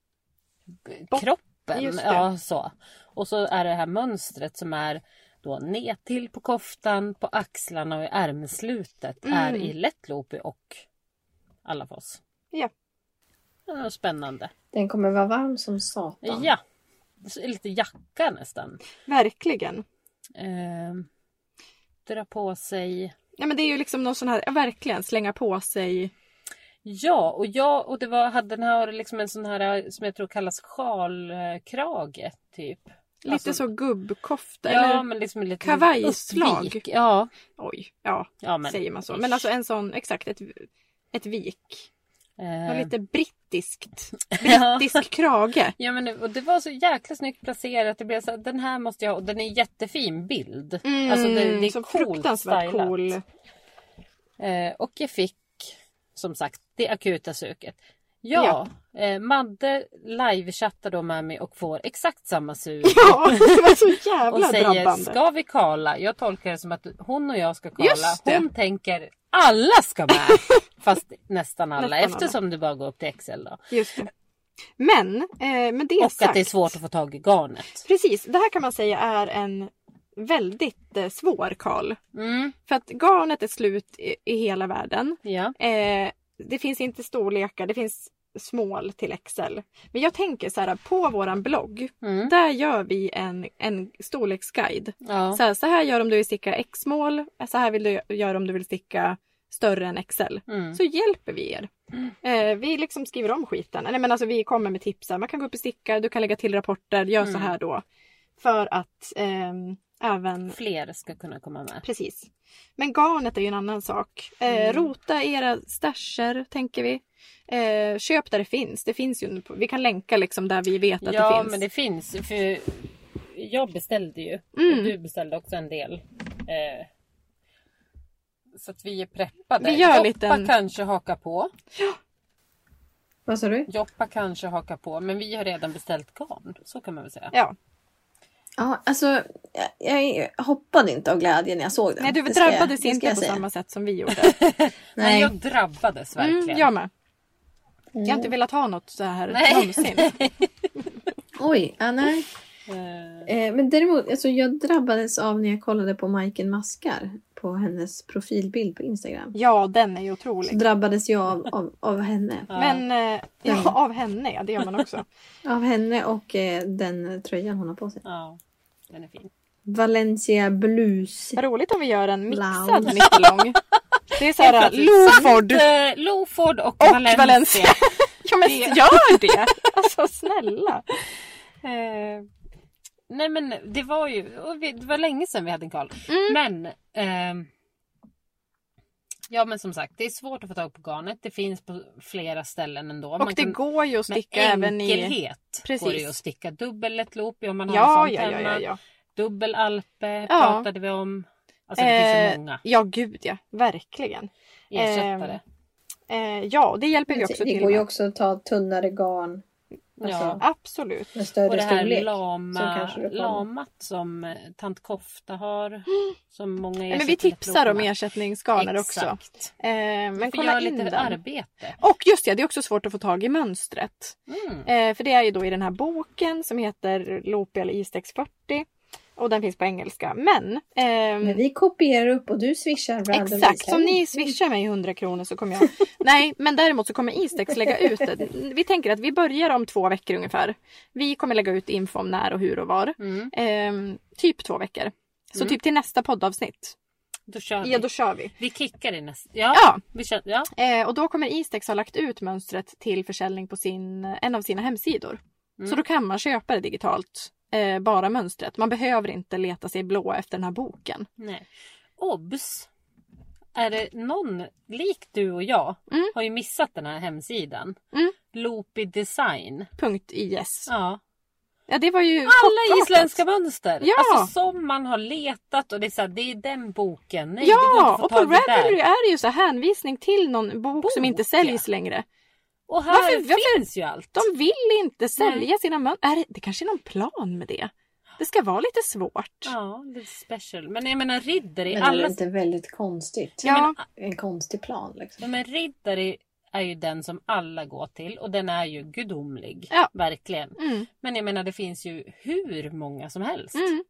Speaker 2: b-
Speaker 3: Bot-
Speaker 2: kroppen.
Speaker 3: just det.
Speaker 2: Ja, så. Och så är det här mönstret som är då nedtill på koftan, på axlarna och i ärmslutet
Speaker 3: Mm.
Speaker 2: är i lätt Lopi och Alafos.
Speaker 3: Ja.
Speaker 2: Ja, spännande.
Speaker 1: Den kommer vara varm som satan.
Speaker 2: Ja, Så lite jacka nästan.
Speaker 3: Verkligen.
Speaker 2: Eh, dra på sig.
Speaker 3: Ja, men det är ju liksom någon sån här, ja, verkligen slänga på sig.
Speaker 2: Ja, och jag och det var, hade den här liksom en sån här som jag tror kallas sjalkrage typ.
Speaker 3: Lite
Speaker 2: Alltså-
Speaker 3: så gubbkofta.
Speaker 2: Ja,
Speaker 3: eller,
Speaker 2: men liksom en liten
Speaker 3: kavajslag.
Speaker 2: uppvik. Ja,
Speaker 3: oj, ja,
Speaker 2: ja men.
Speaker 3: säger man så. Men alltså en sån, exakt, ett, ett vik.
Speaker 2: Eh, *laughs*
Speaker 3: Något lite brittiskt.
Speaker 2: ja.
Speaker 3: Brittisk krage.
Speaker 2: ja, men det- och det var så jäkla snyggt placerat. Det blev så här, den här måste jag ha och den är en jättefin bild.
Speaker 3: Mm,
Speaker 2: Alltså, det- det är
Speaker 3: så
Speaker 2: coolt
Speaker 3: fruktansvärt
Speaker 2: stylat. *laughs*
Speaker 3: cool.
Speaker 2: Eh, och jag fick som sagt det akuta suget. Ja, eh, Madde livechattade då med mig och får exakt samma sug.
Speaker 3: Ja, det var så
Speaker 2: och
Speaker 3: jävla
Speaker 2: säger
Speaker 3: drabbande.
Speaker 2: ska vi kala? Jag tolkar det som att hon och jag ska kala.
Speaker 3: Just det.
Speaker 2: Hon tänker alla ska
Speaker 3: *laughs*
Speaker 2: med. Fast nästan alla
Speaker 3: Nästan alla.
Speaker 2: eftersom det bara går upp till Excel då.
Speaker 3: Just det. Men, eh, men det
Speaker 2: Och
Speaker 3: sagt.
Speaker 2: att det är svårt att få tag i garnet.
Speaker 3: Precis, det här kan man säga är en väldigt eh, svår kal.
Speaker 2: Mm,
Speaker 3: För att garnet är slut i, i hela världen.
Speaker 2: ja.
Speaker 3: Eh, det finns inte storlekar, det finns small till Excel. Men jag tänker så här, på våran blogg,
Speaker 2: Mm,
Speaker 3: där gör vi en, en storleksguide.
Speaker 2: ja.
Speaker 3: Så, här, så här gör om du vill sticka X-mål, så här vill du göra om du vill sticka större än Excel.
Speaker 2: Mm,
Speaker 3: Så hjälper vi er. Eh, vi liksom skriver om skiten. Nej, men alltså, vi kommer med tips. så här, Man kan gå upp i stickar, du kan lägga till rapporter, gör så
Speaker 2: Mm.
Speaker 3: här då. För att ehm, även
Speaker 2: fler ska kunna komma med.
Speaker 3: Precis. Men garnet är ju en annan sak. Eh,
Speaker 2: Mm.
Speaker 3: Rota i era stasher, tänker vi. Eh, köp där det finns. Det finns ju, vi kan länka liksom där vi vet att
Speaker 2: Ja
Speaker 3: det finns.
Speaker 2: men det finns. För jag beställde ju. Och
Speaker 3: Mm.
Speaker 2: du beställde också en del. Eh, så att vi är preppade.
Speaker 3: Vi gör
Speaker 2: Joppa
Speaker 3: liten-
Speaker 2: kanske hakar på.
Speaker 1: Vad sa du?
Speaker 2: Joppa kanske hakar på. Men vi har redan beställt garn. Så kan man väl säga.
Speaker 3: Ja.
Speaker 1: Ja, alltså jag, jag hoppade inte av glädje när jag såg den.
Speaker 3: Nej, du
Speaker 1: Det ska jag-
Speaker 3: drabbades
Speaker 1: det ska
Speaker 3: inte
Speaker 1: jag
Speaker 3: på
Speaker 1: säga.
Speaker 3: samma sätt
Speaker 2: *laughs*
Speaker 3: som vi gjorde.
Speaker 2: Men
Speaker 1: Nej.
Speaker 2: jag drabbades verkligen.
Speaker 3: Mm, jag med.
Speaker 1: Mm.
Speaker 3: Jag har inte velat ha något så här
Speaker 2: Mm. Nej.
Speaker 3: någonsin.
Speaker 2: *laughs*
Speaker 1: Oj, ja, nej.
Speaker 2: Eh,
Speaker 1: Eh, men däremot, alltså, jag drabbades av när jag kollade på Majken Maskar på hennes profilbild på Instagram.
Speaker 3: Ja, den är ju
Speaker 1: Så
Speaker 3: otrolig.
Speaker 1: drabbades jag av, av, av henne.
Speaker 2: ja. Mm.
Speaker 3: Men eh, ja, av henne, ja det gör
Speaker 2: *laughs*
Speaker 3: man också.
Speaker 1: Av henne och eh, den tröjan hon har på sig.
Speaker 2: Ja, den är fin.
Speaker 1: Valencia Blues.
Speaker 3: Vad roligt om vi gör en mixad
Speaker 1: Loud.
Speaker 3: mittelång. Det är så
Speaker 2: Helt
Speaker 3: här
Speaker 2: plötsligt.
Speaker 3: Loford
Speaker 2: Eh, Loford och,
Speaker 3: och
Speaker 2: Valencia.
Speaker 3: Valencia. Ja *laughs* men
Speaker 2: Det-
Speaker 3: gör det! Alltså snälla.
Speaker 2: *laughs* Eh, nej men det var ju, och vi, det var länge sedan vi hade en karl.
Speaker 3: Mm.
Speaker 2: Men ehm, Ja men som sagt det är svårt att få tag på garnet. Det finns på flera ställen ändå.
Speaker 3: Och det går ju att
Speaker 2: med
Speaker 3: sticka även i...
Speaker 2: enkelhet
Speaker 3: Precis.
Speaker 2: går det ju att sticka dubbel lätt loop om man har
Speaker 3: Ja,
Speaker 2: en sån
Speaker 3: ja, ja,
Speaker 2: penna.
Speaker 3: ja, ja.
Speaker 2: Dubbel alpe
Speaker 3: Ja.
Speaker 2: pratade vi om. Alltså det finns
Speaker 3: Eh,
Speaker 2: så många
Speaker 3: Ja, gud ja. Verkligen.
Speaker 2: ersättare.
Speaker 3: Eh, ja, det hjälper vi också
Speaker 1: det
Speaker 3: till
Speaker 1: går ju
Speaker 3: med.
Speaker 1: också att ta tunnare garn
Speaker 2: ja.
Speaker 1: alltså,
Speaker 3: Absolut.
Speaker 1: med större
Speaker 2: Och det här
Speaker 1: storlek. som
Speaker 2: lama,
Speaker 1: kanske det kommer.
Speaker 2: lamat som eh, tant Kofta har. Som många
Speaker 3: Nej, Men vi
Speaker 2: ersätter
Speaker 3: tipsar om
Speaker 2: med.
Speaker 3: ersättningsgarner också.
Speaker 2: Exakt.
Speaker 3: Eh, men
Speaker 2: Men kolla
Speaker 3: kolla
Speaker 2: göra
Speaker 3: in
Speaker 2: lite
Speaker 3: den.
Speaker 2: arbete.
Speaker 3: Och just det, det är också svårt att få tag i mönstret.
Speaker 2: Mm.
Speaker 3: Eh, för det är ju då i den här boken som heter Loopy eller Istex 40. Och den finns på engelska. Men, ehm,
Speaker 1: Men vi kopierar upp och du swishar random
Speaker 3: Exakt,
Speaker 1: visar.
Speaker 3: om ni swishar mig 100 kronor så kommer jag... *laughs* Nej, men däremot så kommer Istex lägga ut det. Vi tänker att vi börjar om två veckor ungefär. Vi kommer lägga ut info om när och hur och var.
Speaker 2: Mm.
Speaker 3: Ehm, typ två veckor. Så
Speaker 2: Mm.
Speaker 3: typ till nästa poddavsnitt.
Speaker 2: Då kör vi.
Speaker 3: Ja, då kör vi.
Speaker 2: Vi kickar i nästa. Ja,
Speaker 3: Ja,
Speaker 2: Vi kör, ja.
Speaker 3: eh, och då kommer Istex ha lagt ut mönstret till försäljning på sin, en av sina hemsidor.
Speaker 2: Mm.
Speaker 3: Så då kan man köpa det digitalt. Eh, bara mönstret. Man behöver inte leta sig blå efter den här boken.
Speaker 2: Nej. Obs! Är det någon, lik du och jag,
Speaker 3: Mm.
Speaker 2: har ju missat den här hemsidan.
Speaker 3: Mm.
Speaker 2: Loopy Design.
Speaker 3: Punkt .is.
Speaker 2: Ja.
Speaker 3: Ja, det var ju
Speaker 2: Alla
Speaker 3: chockartat.
Speaker 2: isländska mönster!
Speaker 3: Ja.
Speaker 2: Alltså som man har letat och det är så här, det är den boken. Nej, det går
Speaker 3: ja,
Speaker 2: inte
Speaker 3: och
Speaker 2: att
Speaker 3: på
Speaker 2: få tag i
Speaker 3: Ravelry
Speaker 2: där.
Speaker 3: är det ju så här hänvisning till någon bok,
Speaker 2: Bok,
Speaker 3: som inte säljs längre.
Speaker 2: Och här
Speaker 3: Varför- varför-
Speaker 2: finns ju allt.
Speaker 3: De vill inte sälja sina mönster. Är det, det kanske är någon plan med det? Det ska vara lite svårt.
Speaker 2: Ja, lite special. Men jag menar ridder i
Speaker 1: Men det
Speaker 2: alla...
Speaker 1: är inte väldigt konstigt?
Speaker 3: Ja. Mm.
Speaker 2: Men,
Speaker 1: En konstig plan liksom.
Speaker 2: ja, men ridder i- är ju den som alla går till och den är ju gudomlig.
Speaker 3: Ja.
Speaker 2: Verkligen.
Speaker 3: Mm,
Speaker 2: Men jag menar det finns ju hur många som helst.
Speaker 3: mm.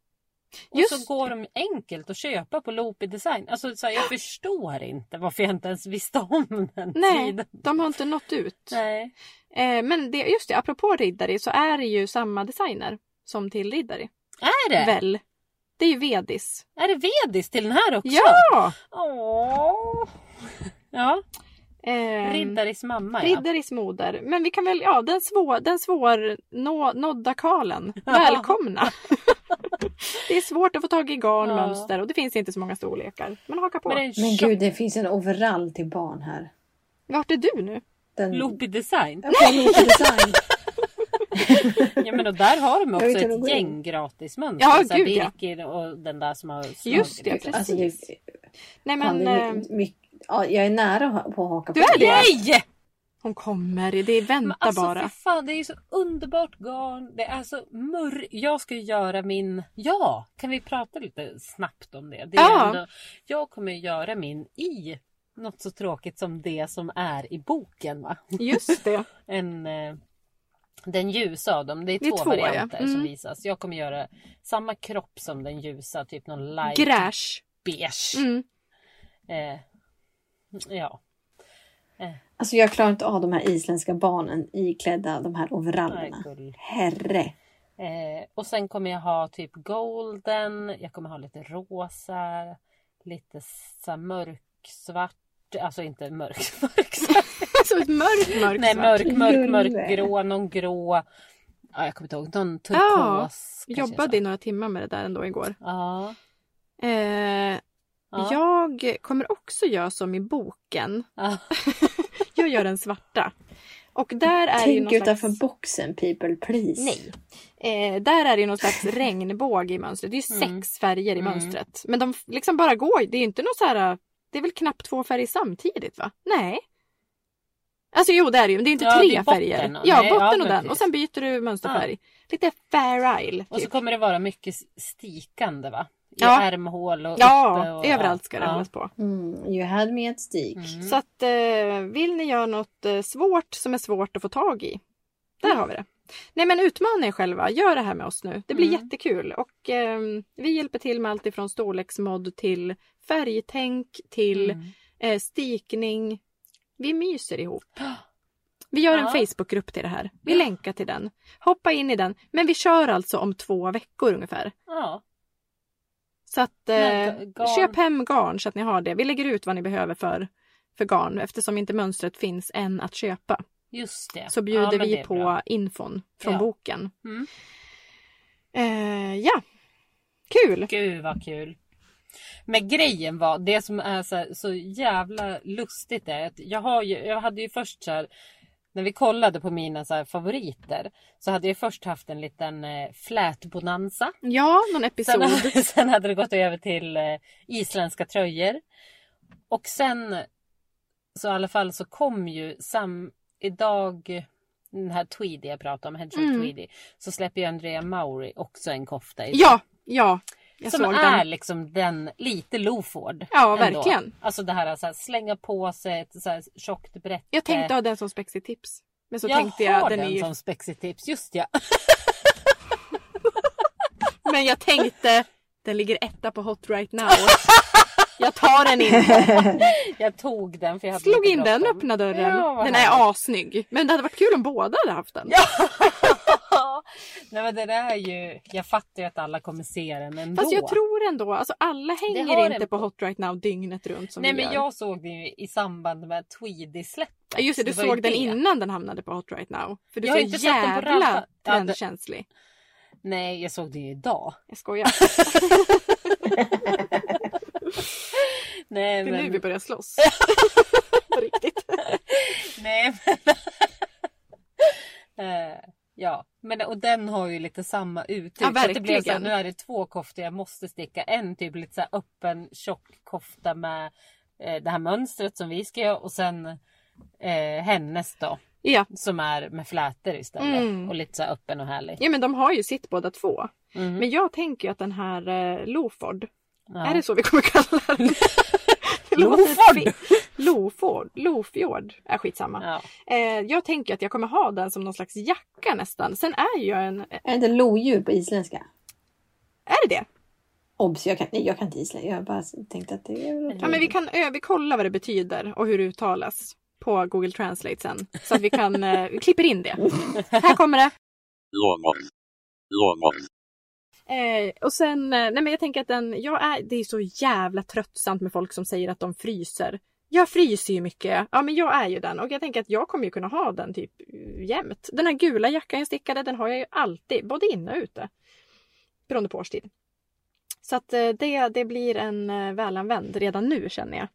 Speaker 2: Och
Speaker 3: Just
Speaker 2: så går de enkelt att köpa på Loopy Design. Alltså så här, jag förstår inte varför jag inte ens visste om den
Speaker 3: Nej,
Speaker 2: tiden.
Speaker 3: de har inte nått ut.
Speaker 2: Nej.
Speaker 3: Eh, men det, just det, apropå Riddari så är det ju samma designer som till Riddari.
Speaker 2: Är det?
Speaker 3: Väl? Det är ju Vedis.
Speaker 2: Är det vedis till den här också?
Speaker 3: Ja!
Speaker 2: Åh. Ja,
Speaker 3: Ehm,
Speaker 2: Riddaris mamma ja.
Speaker 3: Riddaris moder. Men vi kan väl, ja den, svår, den svår nå, nådda
Speaker 2: *laughs*
Speaker 3: Karlen. Välkomna! det är svårt att få tag i garn,
Speaker 2: Ja.
Speaker 3: mönster och det finns inte så många storlekar. Men haka på.
Speaker 2: Men det är en
Speaker 1: Men
Speaker 2: tjock
Speaker 1: gud, det finns en overall till barn här.
Speaker 3: Vart är du nu?
Speaker 1: Den...
Speaker 2: Loopy Design.
Speaker 1: Ja, på Loop
Speaker 3: *laughs*
Speaker 1: Design.
Speaker 2: Ja men och där har de också
Speaker 1: vet inte hur de
Speaker 2: ett
Speaker 1: går in.
Speaker 2: gäng gratis mönster.
Speaker 3: Ja,
Speaker 2: så här,
Speaker 3: gud, ja.
Speaker 2: Birgir och den där som har... Som
Speaker 3: Just det,
Speaker 2: har-
Speaker 3: precis.
Speaker 1: Alltså, det,
Speaker 3: Nej
Speaker 1: fan,
Speaker 3: men
Speaker 1: det är
Speaker 3: eh,
Speaker 1: my, my, ja, jag är nära att ha- på att haka
Speaker 3: Du
Speaker 1: på.
Speaker 3: är det?
Speaker 2: Nej!
Speaker 3: hon kommer, det är
Speaker 2: Men
Speaker 3: vänta
Speaker 2: alltså för
Speaker 3: bara.
Speaker 2: fan, det är ju så underbart garn. Det är så murr. Jag ska ju göra min... Ja, kan vi prata lite snabbt om det? det är
Speaker 3: Ja.
Speaker 2: ändå... Jag kommer ju göra min i något så tråkigt som det som är i boken. Va?
Speaker 3: Just det.
Speaker 2: En, eh, den ljusa av dem. Det är,
Speaker 3: Det är
Speaker 2: två,
Speaker 3: två, ja.
Speaker 2: varianter som
Speaker 3: Mm.
Speaker 2: visas. Jag kommer göra samma kropp som den ljusa, typ någon light
Speaker 3: Gräsch.
Speaker 2: beige.
Speaker 3: Mm. *laughs*
Speaker 2: Eh, ja.
Speaker 1: Alltså, jag klarar inte av de här isländska barnen iklädda de här
Speaker 2: Nej,
Speaker 1: overallerna.
Speaker 2: gull.
Speaker 1: Herre!
Speaker 2: Eh, och sen kommer jag ha typ golden, jag kommer ha lite rosa, lite så här mörksvart, alltså inte mörk, *laughs* mörksvart,
Speaker 3: Så Alltså, ett mörkt mörkt
Speaker 2: nej
Speaker 3: svart.
Speaker 2: mörk, mörk,
Speaker 1: Gulle.
Speaker 2: mörkgrå, någon grå, ja, jag kommer inte ihåg, någon turkos. kanske
Speaker 3: Jobbade i
Speaker 2: jag sa.
Speaker 3: några timmar med det där ändå igår.
Speaker 2: Ja.
Speaker 3: Eh,
Speaker 2: Ja.
Speaker 3: Jag kommer också göra som i boken. *laughs*
Speaker 2: ja.
Speaker 3: Jag gör den svarta. Och där är ju
Speaker 1: Tänk
Speaker 3: någon
Speaker 1: utanför
Speaker 3: slags...
Speaker 1: boxen people please.
Speaker 3: Nej. Eh, där är det ju någon slags regnbåge i mönstret. Det är ju
Speaker 2: Mm.
Speaker 3: sex färger i
Speaker 2: Mm.
Speaker 3: mönstret. Men de f- liksom bara går. Det är ju inte något så här... eh, Det är väl knappt två färger samtidigt va? Nej. Alltså jo det är det ju. Men det är ju inte
Speaker 2: Ja, det
Speaker 3: tre
Speaker 2: är botten
Speaker 3: färger.
Speaker 2: och-
Speaker 3: ja,
Speaker 2: nej, ja,
Speaker 3: botten
Speaker 2: men
Speaker 3: och den.
Speaker 2: precis.
Speaker 3: Och sen byter du mönsterfärg. Lite Fair Isle.
Speaker 2: Och så
Speaker 3: typ.
Speaker 2: kommer det vara mycket stikande va? I
Speaker 3: Ja.
Speaker 2: ärmhål och uppe
Speaker 3: Ja,
Speaker 2: och,
Speaker 3: överallt ska det
Speaker 2: ja.
Speaker 3: hållas på.
Speaker 1: Mm, you had me at stig.
Speaker 2: Mm.
Speaker 3: Så att eh, vill ni göra något eh, svårt som är svårt att få tag i. Där
Speaker 2: Mm.
Speaker 3: har vi det. Nej men utmana er själva, gör det här med oss nu. Det blir
Speaker 2: Mm.
Speaker 3: jättekul och ehm, vi hjälper till med allt ifrån storleksmodd till färgtänk till
Speaker 2: Mm.
Speaker 3: eh, stikning. Vi myser ihop. Vi gör en
Speaker 2: Ja.
Speaker 3: Facebookgrupp till det här. Vi länkar till den. Hoppa in i den. Men vi kör alltså om två veckor ungefär.
Speaker 2: Ja.
Speaker 3: Så att eh,
Speaker 2: Men ga- garn-
Speaker 3: köp hem garn så att ni har det. Vi lägger ut vad ni behöver för, för garn eftersom inte mönstret finns än att köpa.
Speaker 2: Just det.
Speaker 3: så
Speaker 2: ja,
Speaker 3: bjuder
Speaker 2: men det
Speaker 3: vi
Speaker 2: är
Speaker 3: på
Speaker 2: bra.
Speaker 3: infon från
Speaker 2: Ja.
Speaker 3: boken.
Speaker 2: Mm.
Speaker 3: Eh, ja, kul!
Speaker 2: Gud vad kul. Men grejen var, det som är så, här, så jävla lustigt är att jag, har ju, jag hade ju först så här, när vi kollade på mina så här favoriter så hade jag först haft en liten eh, flätbonanza.
Speaker 3: Ja, någon
Speaker 2: Sen,
Speaker 3: episod.
Speaker 2: hade- *laughs* sen hade det gått över till eh, isländska tröjor. Och sen så i alla fall så kom ju sam, idag den här Tweedy jag pratade om, Hedgehog
Speaker 3: Mm.
Speaker 2: Tweedy, så släpper ju Andrea Mauri också en kofta idag
Speaker 3: Ja, ja. Jag
Speaker 2: som
Speaker 3: såg
Speaker 2: är
Speaker 3: den.
Speaker 2: liksom den lite Loford.
Speaker 3: Ja,
Speaker 2: ändå.
Speaker 3: verkligen.
Speaker 2: Alltså det här, så här slänga på sig ett så här tjockt brätte.
Speaker 3: Jag tänkte ha den som spexigt tips. Men så
Speaker 2: Eh. jag
Speaker 3: tänkte jag,
Speaker 2: har
Speaker 3: den är ju...
Speaker 2: som spexigt tips. Just ja.
Speaker 3: *laughs* Men jag tänkte, den ligger etta på hot
Speaker 2: *laughs*
Speaker 3: right now. Jag tar den inte.
Speaker 2: *laughs* Jag tog den för jag hade
Speaker 3: Slog
Speaker 2: lite
Speaker 3: in den,
Speaker 2: bråttom.
Speaker 3: öppna dörren.
Speaker 2: Ja, vad
Speaker 3: den är assnygg. Men det hade varit kul om båda hade haft den.
Speaker 2: Ja. Nej men det där är ju, jag fattar ju att alla kommer se den ändå.
Speaker 3: Fast jag tror ändå, alltså alla
Speaker 2: har
Speaker 3: hänger
Speaker 2: en
Speaker 3: inte på
Speaker 2: poäng.
Speaker 3: hot right now dygnet runt som
Speaker 2: Nej
Speaker 3: vi
Speaker 2: men
Speaker 3: gör.
Speaker 2: jag såg den ju i samband med Tweedy-släppet.
Speaker 3: Ja, Just det, du
Speaker 2: det var ju
Speaker 3: såg den
Speaker 2: det.
Speaker 3: innan den hamnade på hot right now. För du
Speaker 2: Jag
Speaker 3: är
Speaker 2: har
Speaker 3: så
Speaker 2: inte sett den på
Speaker 3: jävla
Speaker 2: rampan. Ja, det-
Speaker 3: trendkänslig.
Speaker 2: Nej jag såg den ju idag. *laughs*
Speaker 3: Jag skojar.
Speaker 2: Nej
Speaker 3: Det är nu
Speaker 2: men,
Speaker 3: vi
Speaker 2: *laughs*
Speaker 3: börjar slåss. På riktigt.
Speaker 2: nej men. *laughs* Eh, ja men och den har ju lite samma uttryck.
Speaker 3: Ja,
Speaker 2: så att det blev så här,
Speaker 3: verkligen.
Speaker 2: nu är det två koftor jag måste sticka. En typ lite så här öppen tjock kofta med eh, det här mönstret som vi ska göra och sen eh, hennes då.
Speaker 3: Ja.
Speaker 2: Som är med flätor istället.
Speaker 3: Mm.
Speaker 2: Och lite så här öppen och härlig.
Speaker 3: ja, men de har ju sitt båda två.
Speaker 2: Mm.
Speaker 3: Men jag tänker ju att den här eh, Loford,
Speaker 2: Ja.
Speaker 3: är det så vi kommer kalla
Speaker 2: *laughs*
Speaker 3: den? Det låter
Speaker 2: Loford?
Speaker 3: fel. Loford? Lofjord? Äh, skitsamma.
Speaker 2: Ja.
Speaker 3: Eh, jag tänker att jag kommer ha den som någon slags jacka nästan. Sen är ju jag en...
Speaker 1: Är det inte lodjur på isländska?
Speaker 3: Är det det?
Speaker 1: Obs, jag kan, nej, jag kan inte isländska. Jag bara tänkte att det är väl
Speaker 3: Ja, men vi kan ö- vi kollar vad det betyder och hur det uttalas på Google Translate sen. Så att vi kan... Eh, vi klipper in det. Här kommer det.
Speaker 4: Lomon. Lomon.
Speaker 3: Eh, och sen, eh, nej men jag tänker att den, jag är, det är så jävla tröttsamt med folk som säger att de fryser. Jag fryser ju mycket. Ja men jag är ju den och jag tänker att jag kommer ju kunna ha den typ eh, jämt. Den här gula jackan jag stickade den har jag ju alltid, både inne och ute. Beroende på årstid. Så att eh, det, det blir en eh, välanvänd redan nu känner jag.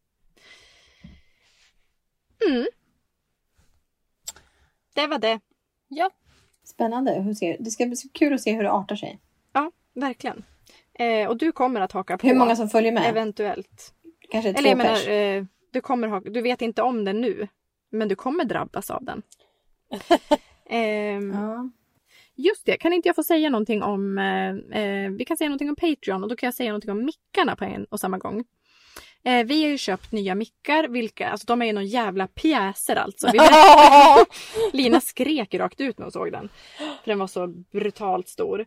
Speaker 3: Mm. Det var det,
Speaker 1: Spännande. Hur ser, det ska bli så kul att se hur det artar sig.
Speaker 3: verkligen. Eh, och du kommer att haka på.
Speaker 1: Hur många som följer med.
Speaker 3: Eventuellt.
Speaker 1: Kanske två
Speaker 3: Eller jag
Speaker 1: pers.
Speaker 3: menar, eh, du, kommer ha, du vet inte om den nu, men du kommer drabbas
Speaker 1: *laughs*
Speaker 3: av den. Ehm,
Speaker 1: Ja.
Speaker 3: Just det, kan inte jag få säga någonting om... Eh, eh, vi kan säga någonting om Patreon och då kan jag säga någonting om mickarna på en och samma gång. Eh, vi har ju köpt nya mickar, vilka, alltså de är ju någon jävla pjäser alltså.
Speaker 1: *laughs*
Speaker 3: Vi Lina skrek rakt ut när hon såg den. För den var så brutalt stor.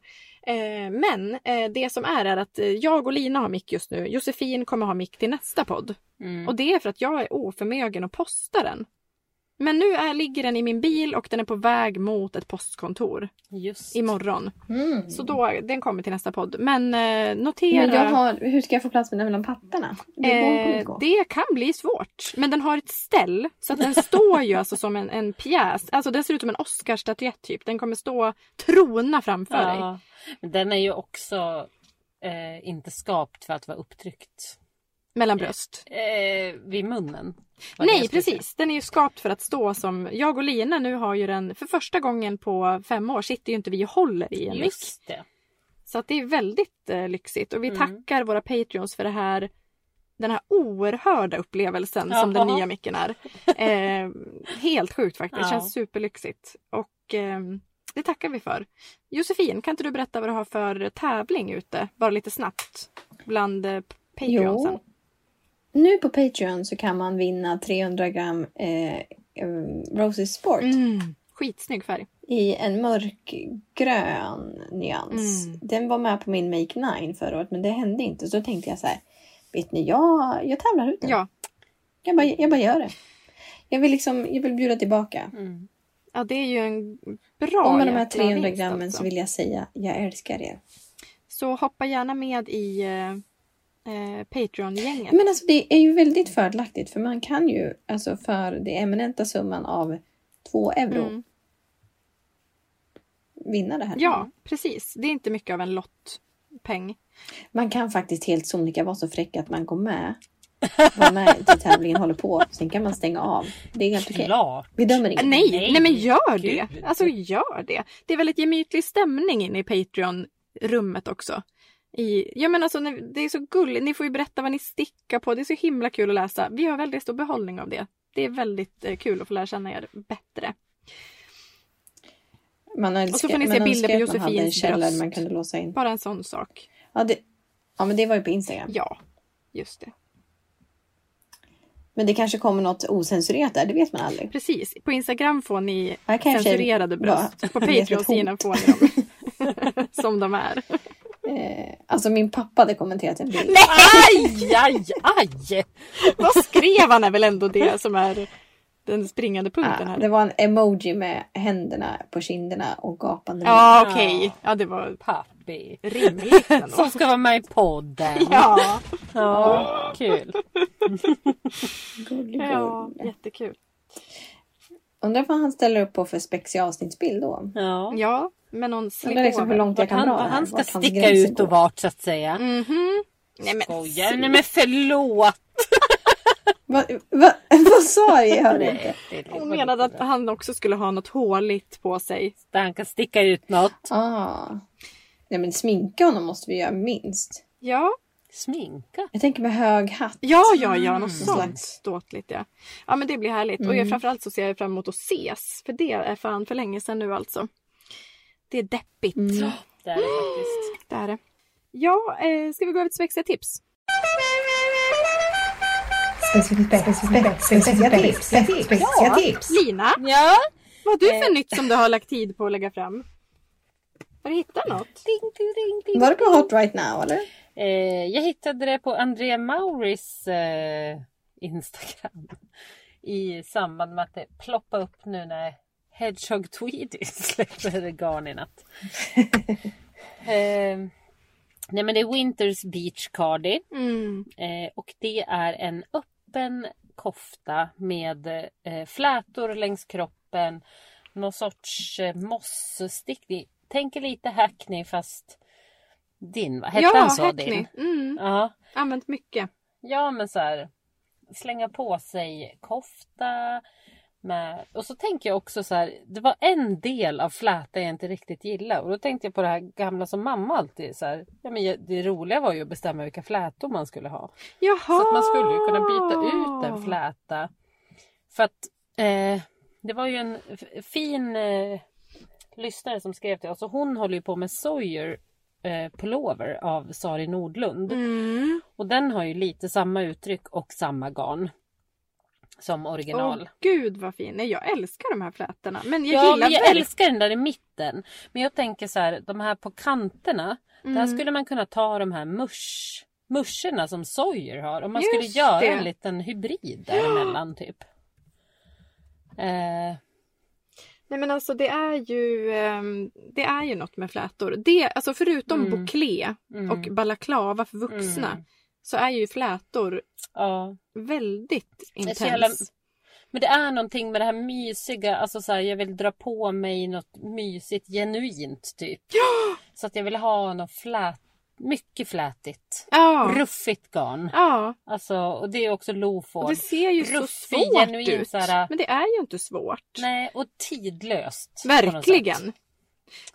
Speaker 3: Eh, men eh, det som är är att eh, jag och Lina har mick just nu. Josefin kommer ha mick till nästa podd.
Speaker 2: *laughs* Mm.
Speaker 3: Och det är för att jag är oförmögen att posta den. Men nu är, ligger den i min bil och den är på väg mot ett postkontor
Speaker 2: Just.
Speaker 3: imorgon.
Speaker 1: Mm.
Speaker 3: Så då, den kommer till nästa podd. Men eh, notera.
Speaker 1: Men jag har, hur ska jag få plats med den mellan pattarna? Det går inte
Speaker 3: Eh,
Speaker 1: gå.
Speaker 3: det kan bli svårt. Men den har ett ställ. Så att den står ju alltså som en, en pjäs. Alltså den ser ut som en Oscarsstatyett typ. Den kommer stå trona framför dig.
Speaker 2: Ja. Men den är ju också eh, inte skapt för att vara upptryckt
Speaker 3: Mellan bröst.
Speaker 2: eh, vid munnen. Var det jag
Speaker 3: Nej
Speaker 2: skulle säga.
Speaker 3: precis, den är ju skapt för att stå som... Jag och Lina nu har ju den... För första gången på fem år sitter ju inte vi och håller i en mick.
Speaker 2: Just
Speaker 3: *laughs*
Speaker 2: det.
Speaker 3: Så att det är väldigt eh, lyxigt och vi
Speaker 2: Mm.
Speaker 3: tackar våra Patreons för det här den här oerhörda upplevelsen som den
Speaker 2: Jaha.
Speaker 3: nya micken är. Eh, helt sjukt faktiskt,
Speaker 2: Ja.
Speaker 3: känns superlyxigt. Och ehm, det tackar vi för. Josefin, kan inte du berätta vad du har för tävling ute? Bara lite snabbt. Bland eh, Patreonsen.
Speaker 1: Jo. Nu på Patreon så kan man vinna 300 gram eh, em, Roses Sport
Speaker 3: Mm. Skitsnygg färg.
Speaker 1: i en mörkgrön nyans.
Speaker 3: Mm.
Speaker 1: Den var med på min Make 9 förra året men det hände inte. Så då tänkte jag så här, vet ni, jag, jag tävlar ut den.
Speaker 3: Ja,
Speaker 1: Jag, bara, jag bara gör det. Jag vill, liksom, jag vill bjuda tillbaka.
Speaker 2: Mm.
Speaker 3: ja det är ju en bra
Speaker 1: Och med de här
Speaker 3: jäkla
Speaker 1: 300
Speaker 3: vinst
Speaker 1: grammen
Speaker 3: alltså.
Speaker 1: så vill jag säga, jag älskar er.
Speaker 3: Så hoppa gärna med i eh, eh, Patreon-gänget.
Speaker 1: Men alltså det är ju väldigt fördelaktigt för man kan ju alltså för det eminenta summan av 2 euro
Speaker 3: Mm.
Speaker 1: vinna det här.
Speaker 3: Ja, precis. Det är inte mycket av en lottpeng.
Speaker 1: Man kan faktiskt helt sonika vara så fräck att man går med. Var med till tävlingen håller på. Sen kan man stänga av. Det är helt okej.
Speaker 2: Klart.
Speaker 1: Vi dömer inget.
Speaker 3: Äh, Nej, nej,
Speaker 2: Nej,
Speaker 3: men gör
Speaker 2: gud.
Speaker 3: det! Alltså gör det! Det är väldigt gemytlig stämning inne i Patreon-rummet också. I, ja men alltså när- det är så gulligt, ni får ju berätta vad ni stickar på, det är så himla kul att läsa. Vi har väldigt stor behållning av det. Det är väldigt eh, kul att få lära känna er bättre.
Speaker 1: Man önskar,
Speaker 3: Och så får ni se
Speaker 1: man
Speaker 3: bilder
Speaker 1: önskar att
Speaker 3: på
Speaker 1: man hade en
Speaker 3: Josefins
Speaker 1: källare
Speaker 3: bröst.
Speaker 1: man kunde låsa in.
Speaker 3: Bara en sån sak.
Speaker 1: Ja, det, ja, men det var ju på Instagram.
Speaker 3: Ja, just det.
Speaker 1: Men det kanske kommer något osensurerat där. Det vet man aldrig.
Speaker 3: Precis, på Instagram får ni
Speaker 1: Här kanske *laughs*
Speaker 3: censurerade
Speaker 1: bara-
Speaker 3: bröst. På
Speaker 1: Det är ett
Speaker 3: Patreon-sidan *laughs*
Speaker 1: hot.
Speaker 3: får ni dem som de är.
Speaker 1: Eh, alltså min pappa hade kommenterat en bild.
Speaker 2: Aj, aj, aj!
Speaker 3: Vad skrev han är väl ändå det som är den springande punkten
Speaker 1: Ah,
Speaker 3: här.
Speaker 1: det var en emoji med händerna på kinderna och gapande mun.
Speaker 3: Ja okej, ja det var
Speaker 2: Pappi.
Speaker 3: *laughs* rimligt ändå.
Speaker 2: Som ska vara med i podden.
Speaker 3: Ja,
Speaker 2: Ja, kul.
Speaker 1: Gull, gull.
Speaker 3: ja jättekul.
Speaker 1: Undrar vad han ställer upp på för spexig avsnittsbild då.
Speaker 2: Ja.
Speaker 3: Ja, men någon
Speaker 1: Undrar liksom hur
Speaker 3: slipover.
Speaker 1: långt jag
Speaker 2: Vart
Speaker 1: kan
Speaker 2: han,
Speaker 1: dra det
Speaker 2: vad
Speaker 1: här,
Speaker 2: han ska
Speaker 1: vart hans
Speaker 2: sticka
Speaker 1: gränser
Speaker 2: ut
Speaker 1: går.
Speaker 2: och vart så att säga.
Speaker 3: Mhm. Nej men,
Speaker 2: Skojar Nej men förlåt!
Speaker 1: Va, va, *laughs* vad sa jag? Jag hörde inte.
Speaker 2: Nej, det- det var
Speaker 3: hon menade
Speaker 2: lite
Speaker 3: att han också skulle ha något håligt på sig.
Speaker 2: bra. Han kan sticka ut något.
Speaker 1: Ah. Nej men sminka honom måste vi göra minst.
Speaker 3: Ja,
Speaker 2: Sminka.
Speaker 1: Jag tänker med hög hatt.
Speaker 3: ja, ja, ja
Speaker 1: Mm.
Speaker 3: något sånt ståtligt ja. Ja men det blir härligt och jag,
Speaker 1: Mm.
Speaker 3: framförallt så ser jag fram emot att ses. För det är fan för länge sedan nu alltså. Det är deppigt.
Speaker 1: Mm.
Speaker 2: Där är faktiskt.
Speaker 3: Det är det. Ja, eh, ska vi gå över till spexiga tips?
Speaker 5: Specifica tips. Specifica tips.
Speaker 3: Lina,
Speaker 2: Ja.
Speaker 3: vad har du för nytt som du har lagt tid på att lägga fram? Har du hittat något?
Speaker 2: Ding, ding, ding, ding.
Speaker 1: Var det på Hot Right Now eller?
Speaker 2: Eh, jag hittade det på Andrea Mauris eh, Instagram. I samband med att det ploppade upp nu när Hedgehog Tweedy *laughs* släpper garn i *laughs* natt. eh, nej men det är Winters Beach Cardi.
Speaker 3: Mm.
Speaker 2: Eh, och det är en öppen kofta med eh, flätor längs kroppen. Någon sorts eh, mossstickning. Tänker lite hackney fast din va? Hette han så? Din?
Speaker 3: Mm.
Speaker 2: Ja.
Speaker 3: Använt mycket.
Speaker 2: ja men så här. Slänga på sig kofta. Med... Och så tänker jag också så här. Det var en del av fläta jag inte riktigt gillade. Och då tänkte jag på det här gamla som mamma alltid så här. Ja, men jag- det roliga var ju att bestämma vilka flätor man skulle ha.
Speaker 3: Jaha!
Speaker 2: Så att man skulle ju kunna byta ut
Speaker 3: Ah.
Speaker 2: en fläta. För att eh, det var ju en f- fin eh, lyssnare som skrev till oss och hon håller ju på med Sawyer eh, Pullover av Sari Nordlund.
Speaker 3: Mm.
Speaker 2: Och den har ju lite samma uttryck och samma garn som original.
Speaker 3: Åh gud vad fin. Nej, jag älskar de här flätorna. Men jag
Speaker 2: ja,
Speaker 3: gillar
Speaker 2: men jag
Speaker 3: väldigt...
Speaker 2: älskar den där i mitten. Men jag tänker så här, de här på kanterna. Där
Speaker 3: Mm.
Speaker 2: skulle man kunna ta de här musch, muscherna som Sawyer har. Om man
Speaker 3: Just
Speaker 2: skulle göra
Speaker 3: det.
Speaker 2: en liten hybrid däremellan typ. Eh,
Speaker 3: Nej men alltså det är ju, ehm, det är ju något med flätor. Det, alltså förutom
Speaker 2: Mm.
Speaker 3: bouclé
Speaker 2: mm,
Speaker 3: och balaklava för vuxna
Speaker 2: mm,
Speaker 3: så är ju flätor
Speaker 2: ja.
Speaker 3: väldigt
Speaker 2: är
Speaker 3: intens.
Speaker 2: så jävla- Men det är någonting med det här mysiga, alltså så här, jag vill dra på mig något mysigt, genuint typ. Så att jag vill ha något flät, mycket flätigt.
Speaker 3: Ja.
Speaker 2: Ruffigt garn.
Speaker 3: Ja,
Speaker 2: Alltså, och det är också
Speaker 3: och
Speaker 2: Loford.
Speaker 3: det ser ju så
Speaker 2: Ruffig,
Speaker 3: svårt
Speaker 2: genuin,
Speaker 3: ut.
Speaker 2: så här-
Speaker 3: Men det är ju inte svårt.
Speaker 2: Nej, och tidlöst. på något sätt.
Speaker 3: Verkligen.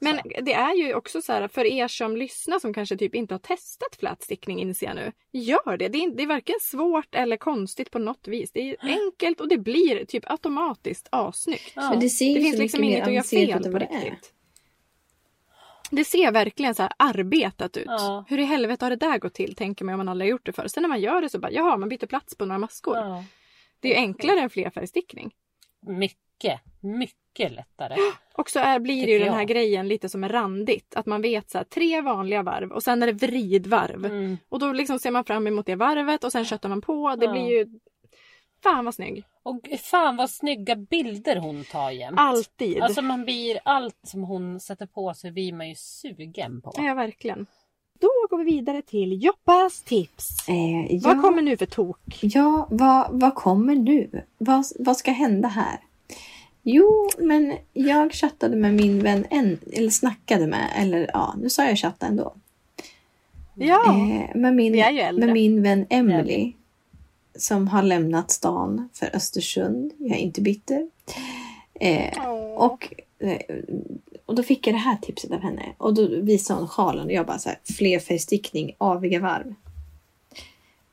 Speaker 3: Men det är ju också så här för er som lyssnar som kanske typ inte har testat flätstickning inser jag nu. Gör det! Det är, in- det är varken svårt eller konstigt på något vis. Det är enkelt och det blir typ automatiskt assnyggt.
Speaker 2: Mm. Ja.
Speaker 1: Men det ser ju
Speaker 3: Det
Speaker 1: så
Speaker 3: finns
Speaker 1: mycket
Speaker 3: liksom
Speaker 1: mer
Speaker 3: inget att göra
Speaker 1: avancerat
Speaker 3: fel
Speaker 1: ut än
Speaker 3: på
Speaker 1: vad det är.
Speaker 3: riktigt. Det ser verkligen så här arbetat ut.
Speaker 2: Ja.
Speaker 3: Hur i helvete har det där gått till tänker man om man aldrig har gjort det förr. Sen när man gör det så bara, jaha man byter plats på några maskor.
Speaker 2: Ja.
Speaker 3: Det är ju enklare än flerfärgstickning.
Speaker 2: Mycket, mycket lättare.
Speaker 3: Och så är, blir det ju
Speaker 2: Tycker
Speaker 3: den här
Speaker 2: jag.
Speaker 3: grejen lite som randigt. Att man vet så här, tre vanliga varv och sen är det vridvarv.
Speaker 2: Mm.
Speaker 3: Och då liksom ser man fram emot det varvet och sen köttar man på. Det
Speaker 2: Ja. Mm.
Speaker 3: blir ju... Fan vad snygg!
Speaker 2: Och gud, fan vad snygga bilder hon tar jämt.
Speaker 3: Alltid!
Speaker 2: Alltså man blir, allt som hon sätter på sig blir man ju sugen på.
Speaker 3: Ja, verkligen. Då går vi vidare till Joppas tips.
Speaker 1: Eh, ja,
Speaker 3: Vad kommer nu för tok?
Speaker 1: ja vad, vad kommer nu? Vad, vad ska hända här? Jo, men jag chattade med min vän, en, eller snackade med, eller ja, nu sa jag chatta ändå.
Speaker 3: Ja!
Speaker 1: Eh, med, min,
Speaker 3: Vi är ju äldre.
Speaker 1: med min vän Emily Som har lämnat stan för Östersund. Jag är inte bitter. Eh,
Speaker 3: Åh.
Speaker 1: och, eh, och då fick jag det här tipset av henne. Och då visade hon sjalen och jag bara så här, flerfärgstickning, aviga varv.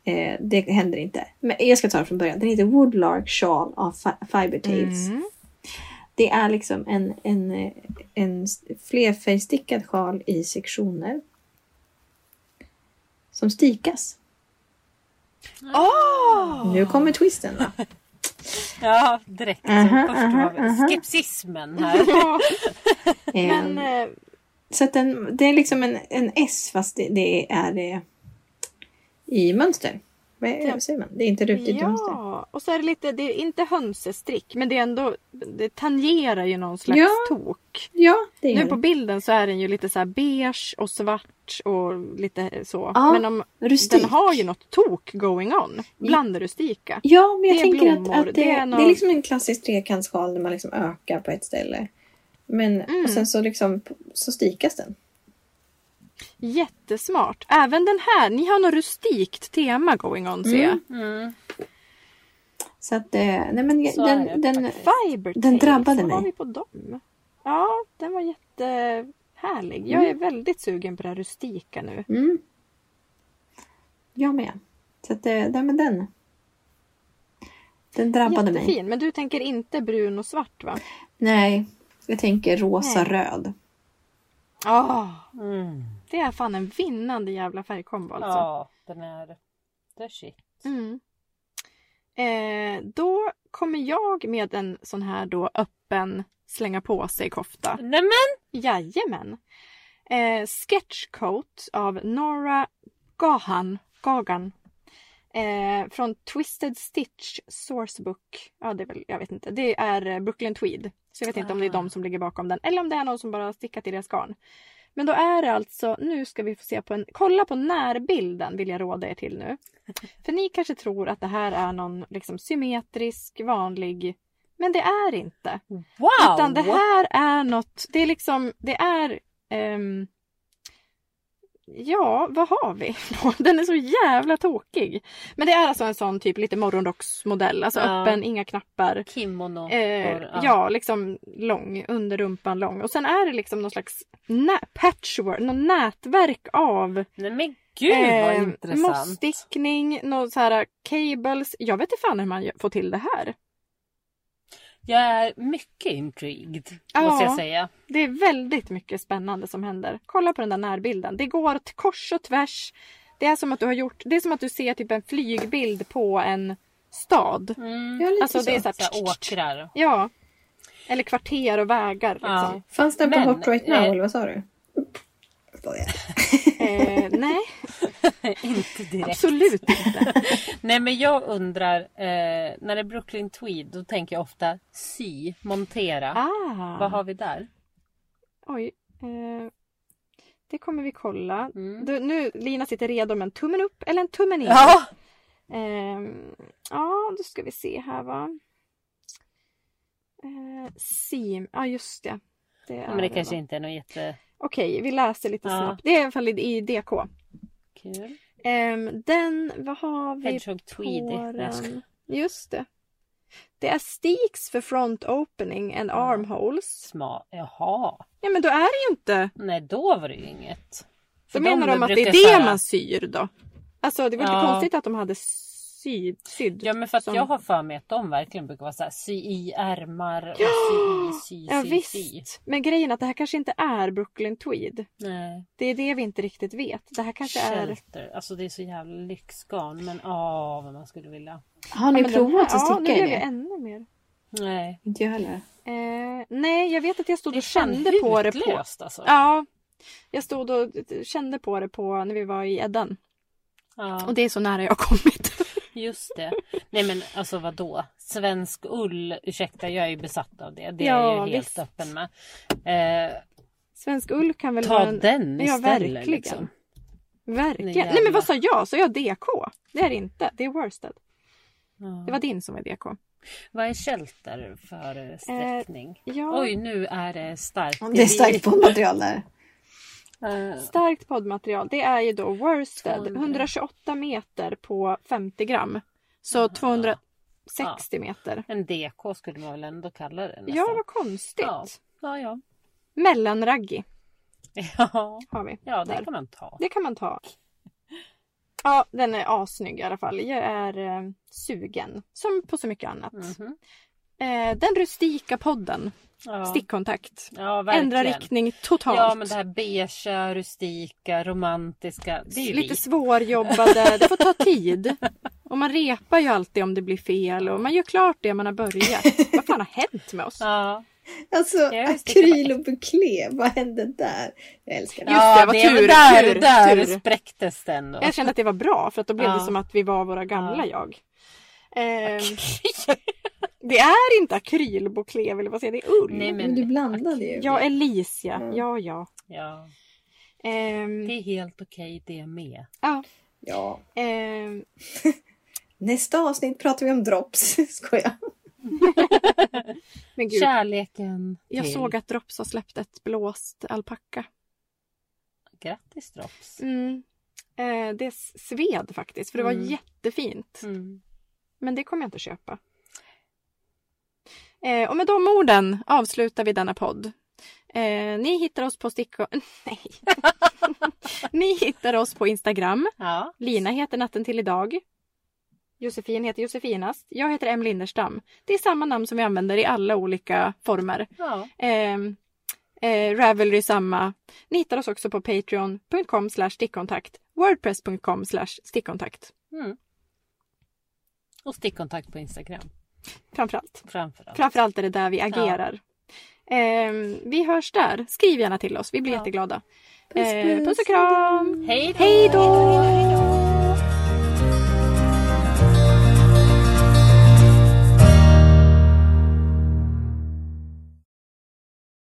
Speaker 1: Eh, det händer inte. Men jag ska ta det från början. Den heter Woodlark Shawl av Fi- Fiber Tales.
Speaker 3: Mm.
Speaker 1: Det är liksom en, en, eh, en s- flerfärgstickad sjal i sektioner. Som stikas.
Speaker 3: Åh!
Speaker 1: Nu kommer twisten. va?
Speaker 2: Ja, direkt.
Speaker 1: Aha,
Speaker 2: Först var
Speaker 1: aha, aha.
Speaker 3: *laughs*
Speaker 2: skepsismen här.
Speaker 3: Ja,
Speaker 1: Eh,
Speaker 3: men eh,
Speaker 1: Så att den, det är liksom en, en S fast det, det är eh, i mönster. Vad är-
Speaker 3: Ja.
Speaker 1: vad säger man? Det är inte rutigt ja. mönster.
Speaker 3: Ja, och så är det lite, det är inte hönsestrick men det är ändå, det tangerar ju någon slags
Speaker 1: Ja.
Speaker 3: tok.
Speaker 1: Ja, det är
Speaker 3: Nu
Speaker 1: det.
Speaker 3: på bilden så är den ju lite så här beige och svart och lite så.
Speaker 1: Ja,
Speaker 3: men om,
Speaker 1: Rustik.
Speaker 3: den har ju något tok going on. Bland det rustika.
Speaker 1: Ja, men jag
Speaker 3: det är
Speaker 1: tänker
Speaker 3: blommor,
Speaker 1: att, att det,
Speaker 3: det
Speaker 1: det,
Speaker 3: är
Speaker 1: är
Speaker 3: någon-
Speaker 1: liksom en klassisk trekantsskal där man liksom ökar på ett ställe. Men
Speaker 3: Mm.
Speaker 1: och sen så liksom så stikas den.
Speaker 3: Jättesmart. Även den här, ni har något rustikt tema going on ser jag.
Speaker 1: Mm. Så att, eh, nej men
Speaker 2: Så är
Speaker 1: den,
Speaker 2: det
Speaker 1: den,
Speaker 3: Fiber
Speaker 1: Den drabbade
Speaker 3: Vad har
Speaker 1: mig.
Speaker 3: vi på dem? Ja, den var jättehärlig. Jag är väldigt sugen på det här rustika nu.
Speaker 1: mm. Jag med. Så att, eh, nej men den. Den drabbade mig.
Speaker 3: Jättefin, men du tänker inte brun och svart va?
Speaker 1: Nej, jag tänker rosa-röd.
Speaker 3: Ja,
Speaker 2: Mm.
Speaker 3: Ah, det är fan en vinnande jävla färgkombo alltså.
Speaker 2: Ja, den är the shit.
Speaker 3: Mm. Eh, då kommer jag med en sån här då öppen slänga på sig kofta.
Speaker 2: Nej men!
Speaker 3: Jajamän! Eh, Sketchcoat av Nora Gahan. Gagan. Eh, från Twisted Stitch Sourcebook. Ja, det är väl, jag vet inte. Det är eh, Brooklyn Tweed. Så jag vet inte om det är
Speaker 2: Ah.
Speaker 3: de som ligger bakom den. Eller om det är någon som bara har stickat i deras garn. Men då är det alltså, nu ska vi få se på en, kolla på närbilden vill jag råda er till nu. För ni kanske tror att det här är någon liksom symmetrisk, vanlig. Men det är inte.
Speaker 2: Wow!
Speaker 3: Utan det här är något, det är liksom, det är... ehm, ja, vad har vi? *laughs* Den är så jävla tokig. Men det är alltså en sån typ lite morgonrocksmodell, alltså
Speaker 2: Ja.
Speaker 3: öppen, inga knappar.
Speaker 2: Kimono.
Speaker 3: Eh,
Speaker 2: Or-
Speaker 3: ja, liksom lång, under rumpan lång. Och sen är det liksom någon slags nä- patchwork, något nätverk av
Speaker 2: Nej men gud vad
Speaker 3: eh,
Speaker 2: intressant.
Speaker 3: mossstickning, någon så här cables. Jag vet inte fan hur man gör- får till det här.
Speaker 2: Jag är mycket intrigued
Speaker 3: Ja.
Speaker 2: måste jag säga.
Speaker 3: Det är väldigt mycket spännande som händer. Kolla på den där närbilden. Det går t- kors och tvärs. Det är som att du har gjort, det är som att du ser typ en flygbild på en stad.
Speaker 2: Mm.
Speaker 1: Ja, lite
Speaker 3: Alltså
Speaker 1: så.
Speaker 3: det är så
Speaker 2: Så här
Speaker 3: här,
Speaker 2: åkrar.
Speaker 3: Ja. Eller kvarter och vägar
Speaker 2: Ja.
Speaker 3: liksom.
Speaker 1: Fanns den på
Speaker 2: Men,
Speaker 1: Hot Right Now
Speaker 2: eh,
Speaker 1: eller vad sa du?
Speaker 3: Eh,
Speaker 2: *laughs*
Speaker 3: nej,
Speaker 2: Inte direkt.
Speaker 3: absolut inte.
Speaker 2: *laughs* Nej men jag undrar, eh, när det är Brooklyn Tweed då tänker jag ofta sy, montera. Vad
Speaker 3: Ah.
Speaker 2: har vi där?
Speaker 3: Oj. Eh, det kommer vi kolla.
Speaker 2: Mm.
Speaker 3: Du, nu, Lina sitter redo med en tummen upp eller en tummen ner.
Speaker 2: Ja!
Speaker 3: Ehm, ja, då ska vi se här va. Eh, Sim, ja just det. det är
Speaker 2: Men det
Speaker 3: va.
Speaker 2: kanske inte är något jättekul.
Speaker 3: Okej, vi läser lite
Speaker 2: Ja.
Speaker 3: snabbt. Det är i alla fall i- i DK. Ehm, den, vad har vi
Speaker 2: Hedgehog Tweedy.
Speaker 3: på
Speaker 2: Nej, jag skojar.
Speaker 3: den? Just det. Det är steaks för front opening and
Speaker 2: Ja.
Speaker 3: armholes.
Speaker 2: Sma. Jaha.
Speaker 3: Ja men då är det ju inte.
Speaker 2: Nej då var det ju inget.
Speaker 3: Då
Speaker 2: För
Speaker 3: menar de att det
Speaker 2: brukar
Speaker 3: är det
Speaker 2: köra-
Speaker 3: man syr då. Alltså det var inte
Speaker 2: Ja.
Speaker 3: konstigt att de hade syd. sydd.
Speaker 2: Ja men för att
Speaker 3: som-
Speaker 2: jag har för mig att de verkligen brukar vara så här sy i ärmar och sy i sy
Speaker 3: Ja
Speaker 2: sy sy.
Speaker 3: visst. Men grejen är att det här kanske inte är Brooklyn Tweed.
Speaker 2: Nej.
Speaker 3: Det är det vi inte riktigt vet. Det här kanske är...
Speaker 2: Shelter. Alltså det är så jävla lyxgarn men åh vad man skulle vilja.
Speaker 1: Har ni
Speaker 3: Ja, men den
Speaker 1: provat
Speaker 3: här-
Speaker 1: att
Speaker 3: Ja,
Speaker 1: sticka
Speaker 3: nu
Speaker 1: i
Speaker 3: blev jag
Speaker 1: det?
Speaker 3: ännu mer.
Speaker 2: Nej.
Speaker 1: Inte jag heller.
Speaker 3: Eh, nej, jag vet att jag stod
Speaker 2: Det
Speaker 3: och
Speaker 2: är fan
Speaker 3: kände på det på...
Speaker 2: hutlöst alltså.
Speaker 3: Ja. Jag stod och kände på det på när vi var i Eddan.
Speaker 2: Ja,
Speaker 3: Och det är så nära jag har kommit.
Speaker 2: just det. Nej men alltså vad då? Svensk ull, ursäkta jag är ju besatt av det. Det är
Speaker 3: Ja,
Speaker 2: jag ju helt
Speaker 3: visst.
Speaker 2: öppen med. Eh,
Speaker 3: *laughs* Svensk ull kan väl
Speaker 2: ta
Speaker 3: vara en...
Speaker 2: den
Speaker 3: Ja,
Speaker 2: istället.
Speaker 3: verkligen.
Speaker 2: Liksom.
Speaker 3: Verkligen.
Speaker 2: Jävlar.
Speaker 3: Nej men vad sa jag? Sa jag DK? Det är det inte. Det är Worsted.
Speaker 2: Ja.
Speaker 3: Det var din som var DK.
Speaker 2: Vad är shelter för sträckning?
Speaker 3: Ja.
Speaker 2: Oj nu är det starkt.
Speaker 1: Det är starkt poddmaterial där.
Speaker 2: Eh,
Speaker 3: Starkt poddmaterial. Det är ju då Worsted.
Speaker 2: 200.
Speaker 3: 128 meter på 50 gram. Så 260 meter.
Speaker 2: En DK skulle man väl ändå kalla det nästan.
Speaker 3: Ja, vad konstigt.
Speaker 2: Ja. Ja, ja.
Speaker 3: Mellanraggi
Speaker 2: Ja,
Speaker 3: har vi.
Speaker 2: ja det
Speaker 3: där.
Speaker 2: kan man ta.
Speaker 3: det kan man ta. Ja, den är assnygg i alla fall. Jag är eh, sugen. Som på så mycket annat.
Speaker 2: Mhm.
Speaker 3: Eh, den rustika podden.
Speaker 2: Ja.
Speaker 3: Stickkontakt.
Speaker 2: Ja, verkligen.
Speaker 3: Ändra riktning totalt.
Speaker 2: Ja, men det här beigea, rustika, romantiska. Det är ju
Speaker 3: Lite
Speaker 2: vi.
Speaker 3: svårjobbade. Det får
Speaker 2: *laughs*
Speaker 3: ta tid. Och man repar ju alltid om det blir fel och man gör klart det man har börjat. Vad fan har hänt med oss?
Speaker 2: Ja,
Speaker 1: Alltså
Speaker 2: Ja, just det,
Speaker 1: akryl
Speaker 2: det
Speaker 1: och buklé, vad hände där? Jag älskar det.
Speaker 3: Ja. det var
Speaker 2: är väl
Speaker 3: tur,
Speaker 2: där,
Speaker 3: tur,
Speaker 2: där
Speaker 3: tur.
Speaker 2: spräcktes den. Då.
Speaker 3: Jag kände att det var bra för att då blev
Speaker 2: Ja.
Speaker 3: det som att vi var våra gamla jag. Eh,
Speaker 2: Okej.
Speaker 3: *laughs* det är inte akrylbukle, vill jag bara säga. Det är ull.
Speaker 2: Nej,
Speaker 1: Men du blandade ju.
Speaker 3: Ja, Elicia.
Speaker 1: Mm.
Speaker 3: Ja, ja.
Speaker 2: Ja,
Speaker 3: Ehm,
Speaker 2: det är helt okej det med.
Speaker 3: ja.
Speaker 1: ja.
Speaker 3: ehm,
Speaker 1: Nästa avsnitt pratar vi om drops. *laughs* Skoja.
Speaker 3: men *laughs* gud,
Speaker 2: Kärleken
Speaker 3: jag
Speaker 2: till...
Speaker 3: såg att Drops har släppt ett blåst alpacka.
Speaker 2: Grattis Drops.
Speaker 3: Mm. Eh, det s- sved faktiskt, för det var
Speaker 2: Mm.
Speaker 3: jättefint.
Speaker 2: Mm.
Speaker 3: Men det kommer jag inte köpa. Eh, och med de orden avslutar vi denna podd. Eh, ni hittar oss på Sticko... *laughs* Nej. *laughs* ni hittar oss på Instagram.
Speaker 2: Ja.
Speaker 3: Lina heter Natten till idag. Josefin heter Josefinast. Jag heter Em Linderstam. Det är samma namn som vi använder i alla olika former.
Speaker 2: ja.
Speaker 3: Eh, eh, Ravelry samma. Ni hittar oss också på patreon.com slash stickkontakt. Wordpress.com slash stickkontakt.
Speaker 2: Mm. Och stickkontakt på Instagram.
Speaker 3: Framförallt.
Speaker 2: Framförallt.
Speaker 3: Framförallt är det där vi agerar. Ehm, vi hörs där. Skriv gärna till oss. Vi blir
Speaker 2: Ja.
Speaker 3: jätteglada.
Speaker 1: Puss,
Speaker 3: Ehm, puss
Speaker 1: puss.
Speaker 3: och kram!
Speaker 2: Hej då!
Speaker 3: Hej då!